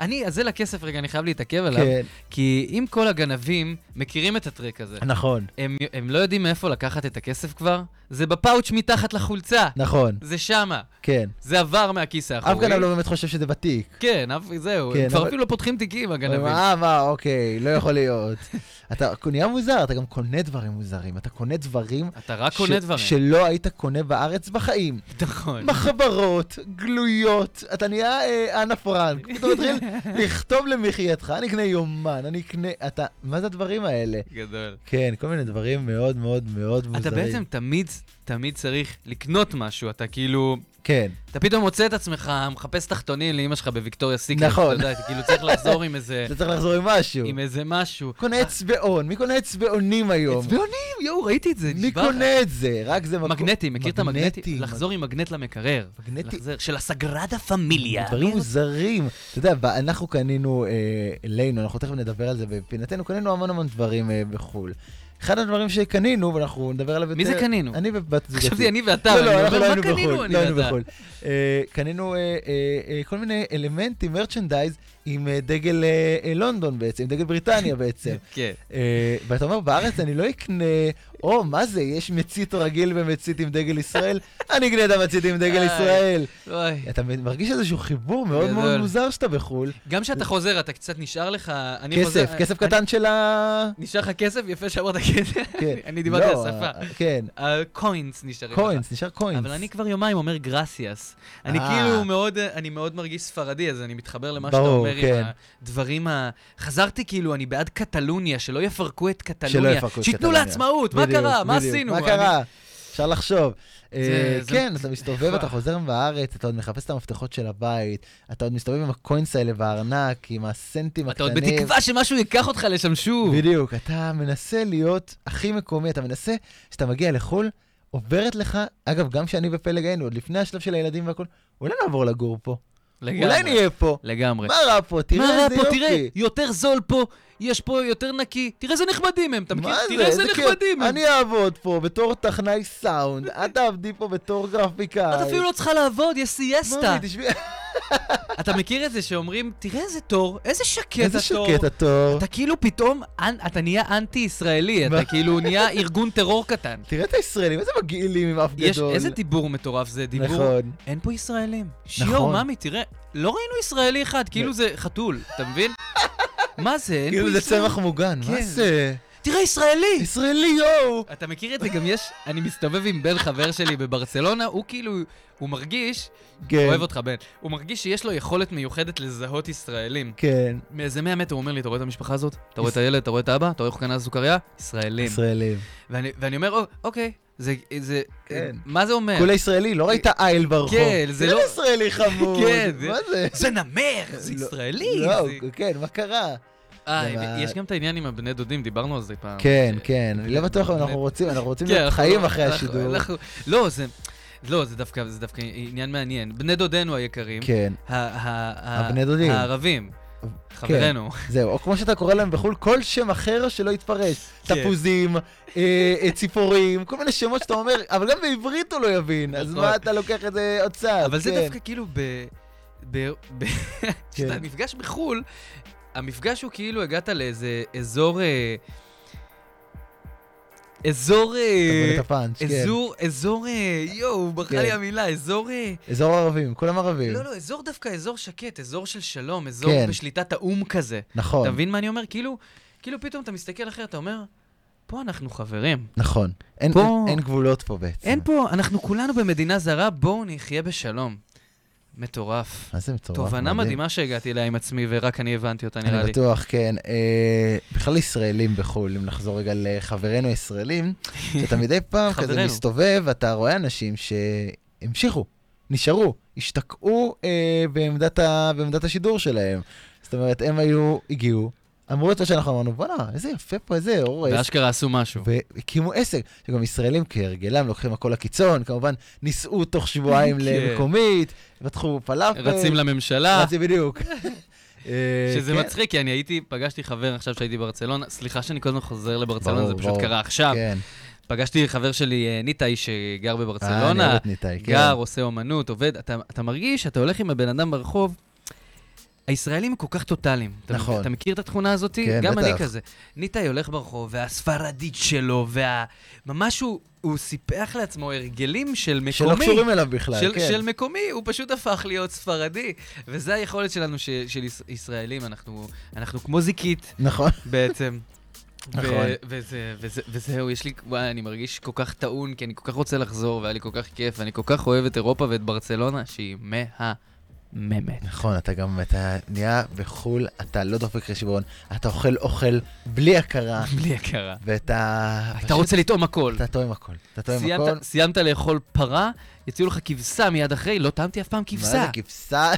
Speaker 4: אני, הזה לכסף, רגע, אני חייב להתעכב עליו.
Speaker 3: כן,
Speaker 4: כי אם כל הגנבים מכירים את הטריק הזה,
Speaker 3: נכון,
Speaker 4: הם- הם לא יודעים מאיפה לקחת את הכסף כבר, זה בפאוץ' מתחת לחולצה.
Speaker 3: נכון.
Speaker 4: זה שמה.
Speaker 3: כן.
Speaker 4: זה עבר מהכיס
Speaker 3: אף
Speaker 4: האחורי.
Speaker 3: גנב לא באמת חושב שזה ותיק.
Speaker 4: כן, אף... זהו.
Speaker 3: כן,
Speaker 4: הם כבר
Speaker 3: אבל-
Speaker 4: אפילו לא פותחים תיקים,
Speaker 3: הוא
Speaker 4: הגנבים.
Speaker 3: אומר, אה, מה, אוקיי, לא יכול להיות. אתה נהיה מוזר, אתה גם קונה דברים מוזרים. אתה קונה דברים...
Speaker 4: אתה רק
Speaker 3: ש-
Speaker 4: אה, קונה דברים.
Speaker 3: שלא היית קונה בארץ בחיים.
Speaker 4: נכון.
Speaker 3: מחברות, גלויות, אתה נהיה אה, אנה פרנק. אתה מתחיל לכתוב למחייתך, אני אקנה יומן, אני אקנה... אתה... מה זה הדברים האלה?
Speaker 4: גדול.
Speaker 3: כן, כל מיני דברים מאוד מאוד מאוד מוזרים.
Speaker 4: אתה בעצם תמיד, תמיד צריך לקנות משהו, אתה כאילו...
Speaker 3: כן,
Speaker 4: אתה פתאום מוצא את עצמך, מחפש תחתונים לאימא שלך בוויקטוריה סיקרט.
Speaker 3: נכון.
Speaker 4: אתה יודע, אתה כאילו צריך לחזור עם איזה...
Speaker 3: אתה צריך לחזור עם משהו.
Speaker 4: עם איזה משהו.
Speaker 3: קונה אצבעון, מי קונה אצבעונים היום?
Speaker 4: עצבעונים, יואו, ראיתי את זה,
Speaker 3: מי
Speaker 4: נשבע. לך.
Speaker 3: קונה את זה? רק זה מקום...
Speaker 4: מגנטים, מכיר את המגנטים?
Speaker 3: מגנטים,
Speaker 4: לחזור עם מגנט למקרר.
Speaker 3: מגנטי-
Speaker 4: לחזור- של הסגרדה פמיליה.
Speaker 3: דברים מוזרים. אתה יודע, ב- אנחנו קנינו אה, אלינו, אנחנו תכף נדבר על זה בפינתנו, קנינו המון המון דברים אה, בחו"ל. אחד הדברים שקנינו, ואנחנו נדבר עליו יותר...
Speaker 4: מי זה קנינו?
Speaker 3: אני ובת זוגתי.
Speaker 4: חשבתי אני ואתה, ואני
Speaker 3: לא, לא,
Speaker 4: אומר,
Speaker 3: אנחנו לא
Speaker 4: "מה
Speaker 3: היינו
Speaker 4: קנינו
Speaker 3: בחו"ל,
Speaker 4: אני
Speaker 3: לא היינו
Speaker 4: ואתה?"
Speaker 3: בחו"ל. אה, קנינו אה, אה, אה, כל מיני אלמנטים, מרצ'נדייז, עם אה, דגל אה, אה, לונדון בעצם, עם דגל בריטניה בעצם.
Speaker 4: כן.
Speaker 3: אה, ואתה אומר, בארץ אני לא אקנה, או, מה זה, יש מצית רגיל ומצית עם דגל ישראל, אני אקנה את המצית עם דגל
Speaker 4: איי.
Speaker 3: ישראל.
Speaker 4: וואי.
Speaker 3: אתה מרגיש איזשהו חיבור מאוד מאוד
Speaker 4: גדול.
Speaker 3: מוזר שאתה בחו"ל.
Speaker 4: גם כשאתה חוזר, אתה קצת נשאר לך... אני חוזר-
Speaker 3: כסף, כסף
Speaker 4: אני-
Speaker 3: קטן של ה...
Speaker 4: נשאר לך כסף? יפה שאמרת כסף.
Speaker 3: כן.
Speaker 4: אני דיברתי על
Speaker 3: לא,
Speaker 4: שפה.
Speaker 3: אה, כן,
Speaker 4: הקוינס נשארים לך.
Speaker 3: קוינס, נשאר קוינס.
Speaker 4: אבל אני כבר יומיים אומר גרסיאס. אני
Speaker 3: אה.
Speaker 4: כאילו מאוד, אני מאוד מרגיש ספרדי, אז אני מתחבר למה שאתה
Speaker 3: ברור,
Speaker 4: אומר עם
Speaker 3: כן.
Speaker 4: הדברים ה... חזרתי כאילו, אני בעד קטלוניה, שלא יפרקו את קטלוניה.
Speaker 3: שלא יפרקו את
Speaker 4: שייתנו לה
Speaker 3: קטלוניה.
Speaker 4: עצמאות, מה
Speaker 3: בדיוק,
Speaker 4: קרה? מה
Speaker 3: בדיוק.
Speaker 4: עשינו?
Speaker 3: מה
Speaker 4: אני-
Speaker 3: קרה? אפשר לחשוב. אה,
Speaker 4: זה- נכון.
Speaker 3: כן, אתה מסתובב,
Speaker 4: וואו.
Speaker 3: אתה חוזר מהארץ, אתה עוד מחפש את המפתחות של הבית, אתה עוד מסתובב עם הקוינס האלה בארנק, עם הסנטים
Speaker 4: אתה עוד
Speaker 3: הקטנים.
Speaker 4: בתקווה שמשהו ייקח אותך לשם שוב.
Speaker 3: בדיוק, אתה מנסה להיות הכי מקומי, אתה מנסה, כשאתה מגיע לחו"ל, עוברת לך, אגב, גם כשאני בפלג היינו, עוד לפני השלב של הילדים והכול, אולי נעבור לגור פה,
Speaker 4: לגמרי.
Speaker 3: אולי נהיה פה,
Speaker 4: לגמרי.
Speaker 3: מה רע פה, תראה
Speaker 4: מה רע
Speaker 3: איזה
Speaker 4: פה?
Speaker 3: יופי.
Speaker 4: תראה, יותר זול פה, יש פה יותר נקי. תראה איזה נחמדים הם, אתה מכיר?
Speaker 3: מה
Speaker 4: תראה איזה
Speaker 3: איזה כיף.
Speaker 4: נחמדים הם.
Speaker 3: אני אעבוד פה בתור טכנאי סאונד, את תעבדי פה בתור גרפיקאי.
Speaker 4: את אפילו לא צריכה לעבוד, יש סיאסטה.
Speaker 3: ממי, תשמעי,
Speaker 4: אתה מכיר את זה שאומרים, תראה איזה תור, איזה שקט התור.
Speaker 3: איזה שקט התור.
Speaker 4: אתה כאילו פתאום, אנ- אתה נהיה אנטי-ישראלי, אתה
Speaker 3: מה?
Speaker 4: כאילו נהיה ארגון טרור קטן.
Speaker 3: תראה את הישראלים, איזה מגעילים עם אף
Speaker 4: יש,
Speaker 3: גדול.
Speaker 4: איזה דיבור מטורף זה, דיבור,
Speaker 3: נכון.
Speaker 4: אין פה ישראלים. שיו,
Speaker 3: נכון.
Speaker 4: ממי, תראה, לא ראינו ישראלי אחד, כאילו זה חתול, אתה מבין? מה זה, אין פה
Speaker 3: כאילו זה
Speaker 4: ישראלי?
Speaker 3: צמח מוגן, מה
Speaker 4: כן.
Speaker 3: זה?
Speaker 4: תראה, ישראלי!
Speaker 3: ישראלי, יואו!
Speaker 4: אתה מכיר את זה, גם יש, אני מסתובב עם בן חבר שלי בברצלונה, הוא כאילו, הוא מרגיש,
Speaker 3: כן,
Speaker 4: אוהב אותך בן, הוא מרגיש שיש לו יכולת מיוחדת לזהות ישראלים.
Speaker 3: כן,
Speaker 4: מאיזה 100 מטר הוא אומר לי, אתה רואה את המשפחה הזאת? אתה רואה את הילד? אתה רואה את האבא? אתה רואה איך הוא קנה סוכריה? ישראלים.
Speaker 3: ישראלים.
Speaker 4: ואני, ואני אומר, "או- אוקיי, זה, זה,
Speaker 3: כן.
Speaker 4: מה זה אומר?
Speaker 3: כולה ישראלי, לא ראית איל ברחוב.
Speaker 4: כן, זה
Speaker 3: תראה
Speaker 4: לא-
Speaker 3: ישראלי חמוד.
Speaker 4: כן, זה-
Speaker 3: מה זה?
Speaker 4: זה נמר, זה ישראלי.
Speaker 3: לא,
Speaker 4: זה-
Speaker 3: כן, מה קרה?
Speaker 4: אה,
Speaker 3: זה מה-
Speaker 4: יש גם את העניין עם הבני דודים, דיברנו על זה פעם.
Speaker 3: כן,
Speaker 4: אה,
Speaker 3: כן, אני לא בטוח אם
Speaker 4: באמת.
Speaker 3: אנחנו רוצים, אנחנו רוצים
Speaker 4: כן,
Speaker 3: להיות
Speaker 4: אנחנו-
Speaker 3: חיים אחרי
Speaker 4: אנחנו-
Speaker 3: השידור.
Speaker 4: אנחנו- לא, זה, לא, זה דווקא, זה דווקא עניין מעניין. בני דודינו היקרים,
Speaker 3: כן,
Speaker 4: ה- ה- ה-
Speaker 3: הבני דודים. כן.
Speaker 4: הערבים, חברינו.
Speaker 3: זהו, או כמו שאתה קורא להם בחו"ל, כל שם אחר שלא יתפרש.
Speaker 4: כן.
Speaker 3: תפוזים, אה, אה, ציפורים, כל מיני שמות שאתה אומר, אבל גם בעברית הוא לא יבין, אז
Speaker 4: נכון.
Speaker 3: מה אתה לוקח את זה עוד צעד?
Speaker 4: אבל זה
Speaker 3: כן.
Speaker 4: דווקא כאילו ב... ב- ב- כשאתה נפגש בחו"ל, המפגש הוא כאילו הגעת לאיזה אזור... אה, אזור...
Speaker 3: אתה
Speaker 4: אה,
Speaker 3: מבין את הפאנץ', כן.
Speaker 4: אזור, אזור, אה, יואו, ברכה
Speaker 3: כן.
Speaker 4: לי המילה, אזור, אה,
Speaker 3: אזור ערבים, כולם ערבים.
Speaker 4: לא, לא, אזור דווקא אזור שקט, אזור של שלום, אזור
Speaker 3: כן.
Speaker 4: בשליטת האו"ם כזה.
Speaker 3: נכון,
Speaker 4: אתה מבין מה אני אומר? כאילו, כאילו פתאום אתה מסתכל אחרת, אתה אומר, פה אנחנו חברים.
Speaker 3: נכון. אין-
Speaker 4: פה-
Speaker 3: אין- אין גבולות פה בעצם.
Speaker 4: אין פה, אנחנו כולנו במדינה זרה, בואו נחיה בשלום. מטורף.
Speaker 3: מה זה מטורף?
Speaker 4: תובנה
Speaker 3: מדהים.
Speaker 4: מדהימה שהגעתי אליה עם עצמי, ורק אני הבנתי אותה, נראה
Speaker 3: אני
Speaker 4: לי.
Speaker 3: בטוח, כן. אה, בכלל ישראלים בחו"ל, אם נחזור רגע לחברינו הישראלים, שאתה מדי פעם כזה
Speaker 4: כן. חברינו.
Speaker 3: מסתובב, ואתה רואה אנשים שהמשיכו, נשארו, השתקעו אה, בעמדת, ה... בעמדת השידור שלהם. זאת אומרת, הם היו, הגיעו, אמרו את מה שאנחנו אמרנו, בואנה, איזה יפה פה, איזה אור, איזה
Speaker 4: ואשכרה עשו משהו.
Speaker 3: והקימו עסק, שגם ישראלים כהרגלם לוקחים הכל לקיצון, כמובן נישאו תוך שבועיים
Speaker 4: כן.
Speaker 3: למקומית, פתחו פלאפל.
Speaker 4: רצים לממשלה,
Speaker 3: רצים בדיוק. אה,
Speaker 4: שזה
Speaker 3: כן.
Speaker 4: מצחיק, כי אני הייתי, פגשתי חבר עכשיו שהייתי בברצלונה, סליחה שאני כל הזמן חוזר לברצלונה,
Speaker 3: ברור,
Speaker 4: זה פשוט
Speaker 3: ברור.
Speaker 4: קרה עכשיו.
Speaker 3: כן.
Speaker 4: פגשתי חבר שלי, אה, ניתאי, שגר
Speaker 3: אה, אני אוהב
Speaker 4: בברצלונה,
Speaker 3: את ניתאי, כן.
Speaker 4: גר, עושה אומנות, עובד, אתה אתה מרגיש שאתה הולך עם הבן אדם ברחוב, הישראלים כל כך טוטאליים. אתה-
Speaker 3: נכון.
Speaker 4: אתה מכיר את התכונה הזאת?
Speaker 3: כן,
Speaker 4: גם אני
Speaker 3: בטח.
Speaker 4: כזה. ניתאי הולך ברחוב, והספרדית שלו, וה... ממש הוא, הוא סיפח לעצמו הרגלים של מקומי.
Speaker 3: שלא קשורים אליו בכלל,
Speaker 4: של,
Speaker 3: כן.
Speaker 4: של מקומי, הוא פשוט הפך להיות ספרדי. וזה היכולת שלנו, ש, של יש, ישראלים, אנחנו, אנחנו כמו זיקית
Speaker 3: נכון.
Speaker 4: בעצם.
Speaker 3: נכון.
Speaker 4: ו- וזה, וזה, וזהו, יש לי, וואי, אני מרגיש כל כך טעון, כי אני כל כך רוצה לחזור, והיה לי כל כך כיף, ואני כל כך אוהב את אירופה ואת ברצלונה, שהיא מהממת.
Speaker 3: נכון, אתה גם, אתה נהיה בחו"ל, אתה לא דופק רשיבון, אתה אוכל אוכל בלי הכרה,
Speaker 4: בלי הכרה.
Speaker 3: ואתה...
Speaker 4: אתה רוצה לטעום הכל.
Speaker 3: אתה טועה עם הכל. אתה טועה עם
Speaker 4: סיימת-
Speaker 3: הכל.
Speaker 4: סיימת לאכול פרה, יציעו לך כבשה מיד אחרי, לא טעמתי אף פעם
Speaker 3: מה
Speaker 4: כבשה. כן.
Speaker 3: זה כבשה?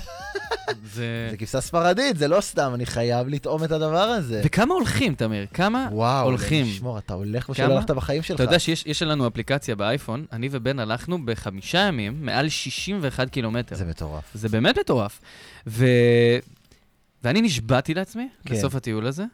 Speaker 4: זה-
Speaker 3: זה כבשה ספרדית, זה לא סתם, אני חייב לטעום את הדבר הזה.
Speaker 4: וכמה הולכים, תמיר? כמה
Speaker 3: וואו,
Speaker 4: הולכים.
Speaker 3: אלוהים ישמור, אתה הולך כמו שלא
Speaker 4: כמה?
Speaker 3: הלכת בחיים שלך.
Speaker 4: אתה יודע שיש יש לנו אפליקציה באייפון, אני ובן הלכנו בחמישה ימים מעל 61 קילומטר.
Speaker 3: זה מטורף.
Speaker 4: זה באמת מטורף. ו... ואני נשבעתי לעצמי,
Speaker 3: כן.
Speaker 4: בסוף הטיול הזה,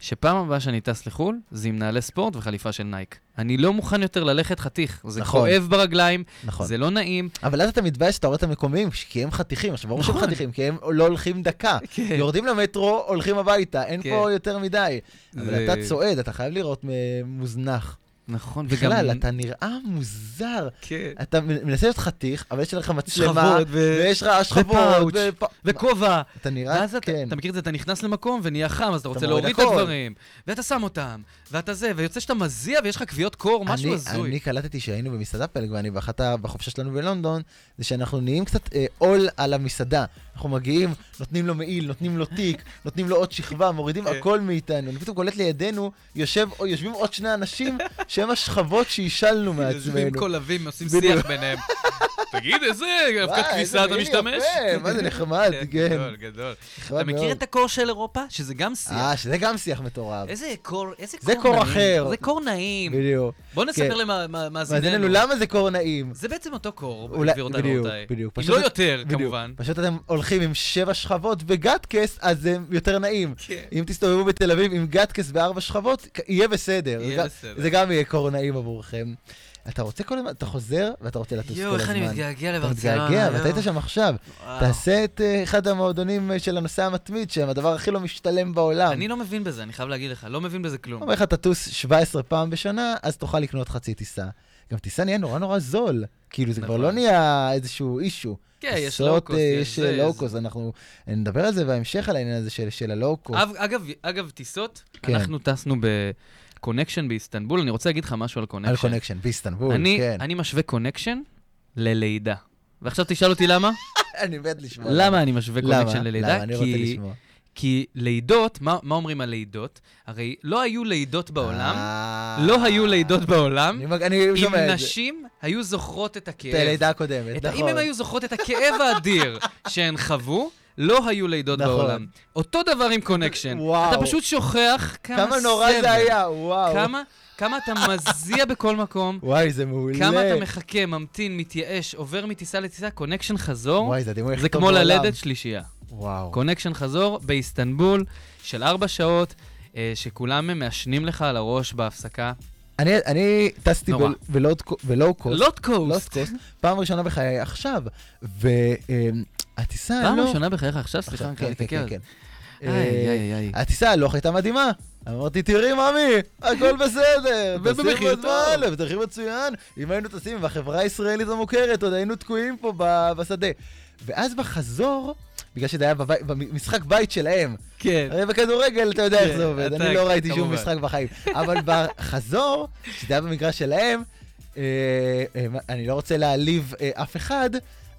Speaker 4: שפעם הבאה שאני טס לחו"ל, זה עם נעלי ספורט וחליפה של נייק. אני לא מוכן יותר ללכת חתיך, זה
Speaker 3: נכון.
Speaker 4: כואב ברגליים,
Speaker 3: נכון.
Speaker 4: זה לא נעים.
Speaker 3: אבל אז אתה מתבייש שאתה רואה את המקומיים, ש- כי הם חתיכים, עכשיו ברור שהם
Speaker 4: נכון.
Speaker 3: חתיכים, כי הם לא הולכים דקה.
Speaker 4: כן.
Speaker 3: יורדים למטרו, הולכים הביתה, אין
Speaker 4: כן.
Speaker 3: פה יותר מדי. אבל
Speaker 4: זה-
Speaker 3: אתה צועד, אתה חייב לראות מ- מוזנח.
Speaker 4: נכון, וגם...
Speaker 3: בכלל, אתה נראה מוזר.
Speaker 4: כן.
Speaker 3: אתה מ- מנסה להיות חתיך, אבל יש לך מצלמה,
Speaker 4: שכבות ו-
Speaker 3: ויש לך
Speaker 4: ופאוץ',
Speaker 3: שכבות, ופ-
Speaker 4: וכובע,
Speaker 3: אתה נראה,
Speaker 4: ואז אתה,
Speaker 3: כן.
Speaker 4: אתה מכיר את זה, אתה נכנס למקום ונהיה חם, אז אתה רוצה
Speaker 3: מוריד
Speaker 4: להוריד את
Speaker 3: הכל.
Speaker 4: הדברים, ואתה שם אותם, ואתה זה, ויוצא שאתה מזיע ויש לך כוויות קור, משהו
Speaker 3: אני-
Speaker 4: הזוי.
Speaker 3: אני קלטתי שהיינו במסעדה פלג ואני באחת ה- בחופשה שלנו בלונדון, זה שאנחנו נהיים קצת אה, עול על המסעדה. אנחנו מגיעים, נותנים לו מעיל, נותנים לו תיק, נותנים לו עוד שכבה, מורידים
Speaker 4: כן.
Speaker 3: הכל מאיתנו. אני פתאום קולט לידינו, יושב, או יושבים עוד שני אנשים שהם השכבות שהשלנו
Speaker 4: יושבים
Speaker 3: מעצמנו.
Speaker 4: קולבים, עושים
Speaker 3: בדיוק.
Speaker 4: שיח ביניהם. תגיד, איזה
Speaker 3: וואי,
Speaker 4: אבקת
Speaker 3: איזה
Speaker 4: כביסה אתה
Speaker 3: מעיל
Speaker 4: משתמש?
Speaker 3: יפה, מה זה נחמד, כן.
Speaker 4: גדול, גדול.
Speaker 3: נחמד
Speaker 4: אתה מכיר
Speaker 3: מאוד.
Speaker 4: את הקור של אירופה? שזה גם שיח.
Speaker 3: אה, שזה גם שיח מטורף.
Speaker 4: איזה קור, איזה קור
Speaker 3: זה
Speaker 4: נעים.
Speaker 3: קור אחר.
Speaker 4: זה קור נעים.
Speaker 3: בדיוק.
Speaker 4: בוא נספר
Speaker 3: כן.
Speaker 4: למאזיננו.
Speaker 3: מאזיננו, למה זה קור נעים?
Speaker 4: זה בעצם אותו קור,
Speaker 3: אולי-
Speaker 4: העביר אותנו
Speaker 3: בדיוק,
Speaker 4: רבותיי.
Speaker 3: בדיוק.
Speaker 4: אם
Speaker 3: פשוט-
Speaker 4: לא יותר,
Speaker 3: בדיוק.
Speaker 4: כמובן.
Speaker 3: פשוט אתם הולכים עם שבע שכבות וגטקס, אז זה יותר נעים.
Speaker 4: כן.
Speaker 3: אם תסתובבו בתל אביב עם גטקס בארבע שכבות, כ- יהיה בסדר.
Speaker 4: יהיה
Speaker 3: זה גם-
Speaker 4: בסדר.
Speaker 3: זה גם יהיה קור נעים עבורכם. אתה רוצה כל הזמן, אתה חוזר ואתה רוצה לטוס כל הזמן.
Speaker 4: יואו, איך אני מתגעגע
Speaker 3: אתה
Speaker 4: לברצלונה.
Speaker 3: מתגעגע,
Speaker 4: יואו.
Speaker 3: ואתה היית שם עכשיו.
Speaker 4: וואו.
Speaker 3: תעשה את אה, אחד המועדונים אה, של הנוסע המתמיד, שהם הדבר הכי לא משתלם בעולם.
Speaker 4: אני לא מבין בזה, אני חייב להגיד לך, לא מבין בזה כלום.
Speaker 3: אומר לך, תטוס 17 פעם בשנה, אז תוכל לקנות חצי טיסה. גם טיסה נהיה נורא נורא זול. כאילו, זה כבר
Speaker 4: נכון.
Speaker 3: לא נהיה איזשהו אישו.
Speaker 4: כן, יש
Speaker 3: טיסות,
Speaker 4: לואו-קוסט,
Speaker 3: אה,
Speaker 4: יש זה,
Speaker 3: לואו-קוסט, אנחנו נדבר על זה בהמשך, על העניין הזה של- של הלואו-קוסט.
Speaker 4: אב- אגב, אגב, טיסות,
Speaker 3: כן.
Speaker 4: אנחנו טסנו בקונקשן באיסטנבול, אני רוצה להגיד לך משהו על
Speaker 3: על
Speaker 4: קונקשן.
Speaker 3: קונקשן, באיסטנבול,
Speaker 4: אני-
Speaker 3: כן.
Speaker 4: אני משווה קונקשן ללידה. ועכשיו תשאל אותי למה?
Speaker 3: אני מת לשמוע.
Speaker 4: למה אני משווה
Speaker 3: למה?
Speaker 4: קונקשן ללידה?
Speaker 3: למה? אני
Speaker 4: כי-
Speaker 3: רוצה לשמוע.
Speaker 4: כי לידות, מה מה אומרים על לידות? הרי לא היו לידות בעולם,
Speaker 3: אה,
Speaker 4: לא היו לידות בעולם,
Speaker 3: אני מג- אני
Speaker 4: אם
Speaker 3: שומע את זה.
Speaker 4: נשים היו זוכרות את
Speaker 3: את
Speaker 4: הכאב.
Speaker 3: הלידה הקודמת,
Speaker 4: את ה- אם
Speaker 3: נכון.
Speaker 4: הן היו זוכרות את הכאב האדיר שהן חוו, לא היו לידות
Speaker 3: נכון.
Speaker 4: בעולם. אותו דבר עם קונקשן.
Speaker 3: וואו.
Speaker 4: אתה פשוט שוכח כמה סבל.
Speaker 3: כמה נורא זה היה, וואו.
Speaker 4: כמה, כמה אתה מזיע בכל מקום,
Speaker 3: וואי, זה מעולה.
Speaker 4: כמה אתה מחכה, ממתין, מתייאש, עובר מטיסה לטיסה, קונקשן חזור,
Speaker 3: וואי, זה הדימוי
Speaker 4: זה
Speaker 3: הכי טוב
Speaker 4: כמו
Speaker 3: בעולם.
Speaker 4: ללדת שלישייה.
Speaker 3: וואו.
Speaker 4: קונקשן חזור באיסטנבול של ארבע שעות, אה, שכולם מעשנים לך על הראש בהפסקה.
Speaker 3: אני, אני טסתי
Speaker 4: נורא. לא
Speaker 3: ב- בלואו קו- בלואו קוסט,
Speaker 4: לוט
Speaker 3: לוט
Speaker 4: קוסט.
Speaker 3: קוסט, לא פעם ראשונה בחיי עכשיו, אמ, והטיסה הלוך...
Speaker 4: פעם ראשונה בחייך עכשיו,
Speaker 3: אה, לא. עכשיו,
Speaker 4: אה, סליחה, אני
Speaker 3: כן,
Speaker 4: חייב
Speaker 3: כן,
Speaker 4: להתעכב. על
Speaker 3: כן,
Speaker 4: זה.
Speaker 3: כן.
Speaker 4: איי,
Speaker 3: אה,
Speaker 4: איי, איי.
Speaker 3: הטיסה הלוך הייתה מדהימה. אמרתי, תראי, ממי, הכל בסדר.
Speaker 4: ובמחיר
Speaker 3: טסים
Speaker 4: טוב."
Speaker 3: בזמן, ובמחיר מצוין. אם היינו טסים עם החברה הישראלית המוכרת, עוד היינו תקועים פה ב- בשדה. ואז בחזור, בגלל שזה היה בבית- במשחק בית שלהם,
Speaker 4: כן.
Speaker 3: הרי אה, בכדורגל אתה יודע איך
Speaker 4: כן,
Speaker 3: זה עובד,
Speaker 4: אתה-
Speaker 3: אני לא ראיתי שום
Speaker 4: כמובן.
Speaker 3: משחק בחיים. אבל בחזור, שזה היה במגרש שלהם, אה, אה, אני לא רוצה להעליב אה, אף אחד,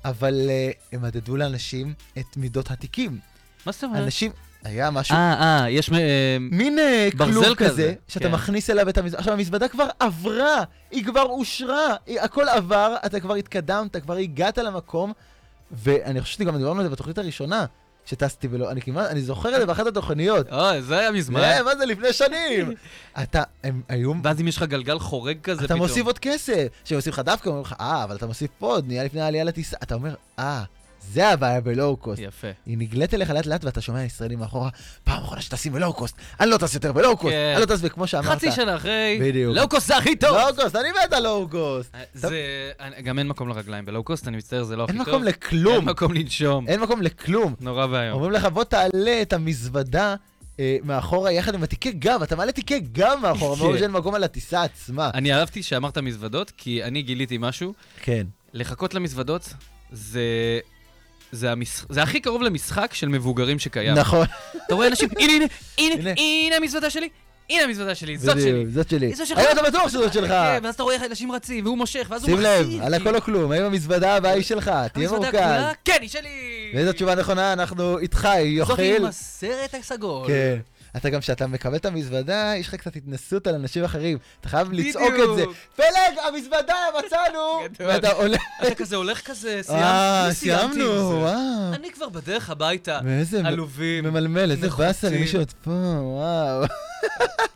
Speaker 3: אבל אה, הם מדדו לאנשים את מידות התיקים.
Speaker 4: מה זאת אומרת?
Speaker 3: אנשים, היה משהו,
Speaker 4: אה, אה, יש... מ- אה,
Speaker 3: מין אה,
Speaker 4: ברזל
Speaker 3: כלוב
Speaker 4: כזה,
Speaker 3: כזה, שאתה
Speaker 4: כן.
Speaker 3: מכניס אליו את המזוודה. עכשיו, המזוודה כבר עברה, היא כבר אושרה, היא- הכל עבר, אתה כבר התקדמת, כבר הגעת למקום, ואני חושב שגם דיברנו על זה בתוכנית הראשונה. שטסתי ולא, אני כמעט, אני זוכר את זה באחת התוכניות.
Speaker 4: אוי, אה, זה היה מזמן.
Speaker 3: מה? מה זה לפני שנים? אתה, הם היו,
Speaker 4: ואז אם יש לך גלגל חורג כזה פתאום.
Speaker 3: אתה מוסיף עוד כסף. כשהם עושים לך דווקא, אומרים לך, אה, אבל אתה מוסיף פה עוד, נהיה לפני העלייה לטיסה. אתה אומר, אה, זה הבעיה בלואו קוסט.
Speaker 4: יפה.
Speaker 3: היא נגלית אליך לאט לאט ואתה שומע ישראלים מאחורה, פעם אחרונה שטסים בלואו קוסט, אני לא טס יותר בלואו קוסט,
Speaker 4: כן.
Speaker 3: אני לא טס וכמו שאמרת.
Speaker 4: חצי שנה אחרי,
Speaker 3: בדיוק. לא-
Speaker 4: לואו-קוסט זה הכי טוב.
Speaker 3: לואו קוסט, אני מת על לואו קוסט.
Speaker 4: אה, זה... אני- גם אין מקום לרגליים בלואו-קוסט, אני מצטער, זה לא הכי
Speaker 3: אין
Speaker 4: טוב.
Speaker 3: מקום
Speaker 4: אין
Speaker 3: לכלום,
Speaker 4: מקום לנשום.
Speaker 3: אין מקום לכלום.
Speaker 4: נורא ואיום.
Speaker 3: אומרים לך, בוא תעלה את המזוודה. אה, מאחורה יחד עם התיקי גב, אתה מעלה תיקי גב מאחורה,
Speaker 4: כן.
Speaker 3: ואומרים שאין מקום על הטיסה עצמה.
Speaker 4: אני אהבתי שאמרת מזוודות, כי אני גיליתי משהו.
Speaker 3: כן.
Speaker 4: לחכות למזוודות זה... זה, המש... זה הכי קרוב למשחק של מבוגרים שקיים.
Speaker 3: נכון,
Speaker 4: אתה רואה אנשים, הנה, הנה,
Speaker 3: הנה.
Speaker 4: הנה, הנה המזוודה שלי, הנה המזוודה שלי, זאת שלי.
Speaker 3: בדיוק, זאת שלי.
Speaker 4: זו שלך.
Speaker 3: היום אתה בטוח שזאת שלך.
Speaker 4: כן, ואז אתה רואה איך אנשים רצים, והוא מושך, ואז הוא
Speaker 3: שים
Speaker 4: מחזיר.
Speaker 3: לב, על
Speaker 4: כאילו.
Speaker 3: הכל או כלום, האם המזוודה הבאה היא שלך, תהיה
Speaker 4: אה, המזוודה
Speaker 3: מורכז.
Speaker 4: כולה, כן, היא שלי!
Speaker 3: ואיזו תשובה נכונה, אנחנו איתך,
Speaker 4: זאת עם
Speaker 3: יוחיל.
Speaker 4: הסרט הסגול.
Speaker 3: כן. אתה גם, כשאתה מקבל את המזוודה, יש לך קצת התנסות על אנשים אחרים. אתה חייב לצעוק את זה.
Speaker 4: בדיוק.
Speaker 3: פלג, המזוודה, מצאנו!
Speaker 4: גדול.
Speaker 3: ואתה עולה...
Speaker 4: אתה כזה הולך כזה, סיימת?
Speaker 3: אה,
Speaker 4: אני סיימתי עם
Speaker 3: סיימנו,
Speaker 4: זה.
Speaker 3: וואו.
Speaker 4: אני כבר בדרך הביתה.
Speaker 3: ואיזה מ-
Speaker 4: עלובים.
Speaker 3: ממלמל, איזה
Speaker 4: נחוצים.
Speaker 3: באסה למישהו עוד פה, וואו.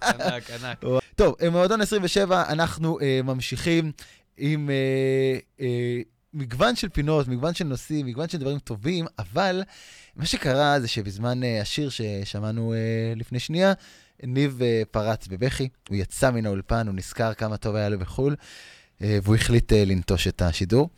Speaker 4: ענק, ענק.
Speaker 3: וואו. טוב, אה, מועדון 27, אנחנו אה, ממשיכים עם אה, אה, מגוון של פינות, מגוון של נושאים, מגוון של דברים טובים, אבל מה שקרה זה שבזמן אה, השיר ששמענו אה, לפני שנייה, ניב אה, פרץ בבכי, הוא יצא מן האולפן, הוא נזכר כמה טוב היה לו בחו"ל, אה, והוא החליט אה, לנטוש את השידור.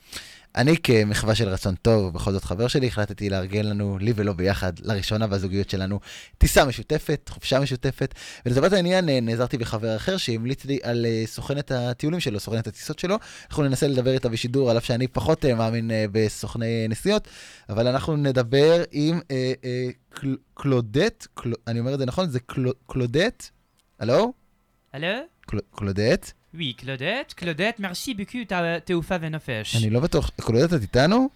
Speaker 3: אני כמחווה של רצון טוב, ובכל זאת חבר שלי, החלטתי לארגן לנו, לי ולא ביחד, לראשונה בזוגיות שלנו, טיסה משותפת, חופשה משותפת. ולטובת העניין אה, נעזרתי בחבר אחר שהמליץ לי על אה, סוכנת הטיולים שלו, סוכנת הטיסות שלו. אנחנו ננסה לדבר איתה בשידור, על אף שאני פחות אה, מאמין אה, בסוכני אה, נסיעות, אבל אנחנו נדבר עם אה, אה, קל, קלודט, קל, אני אומר את זה נכון? זה קל, קלודט? הלו?
Speaker 4: Allô
Speaker 3: קל, קלודט?
Speaker 4: Oui, Claudette. Claudette, merci beaucoup, t'as- t'es au fave
Speaker 3: אני לא בטוח, קלודט את איתנו?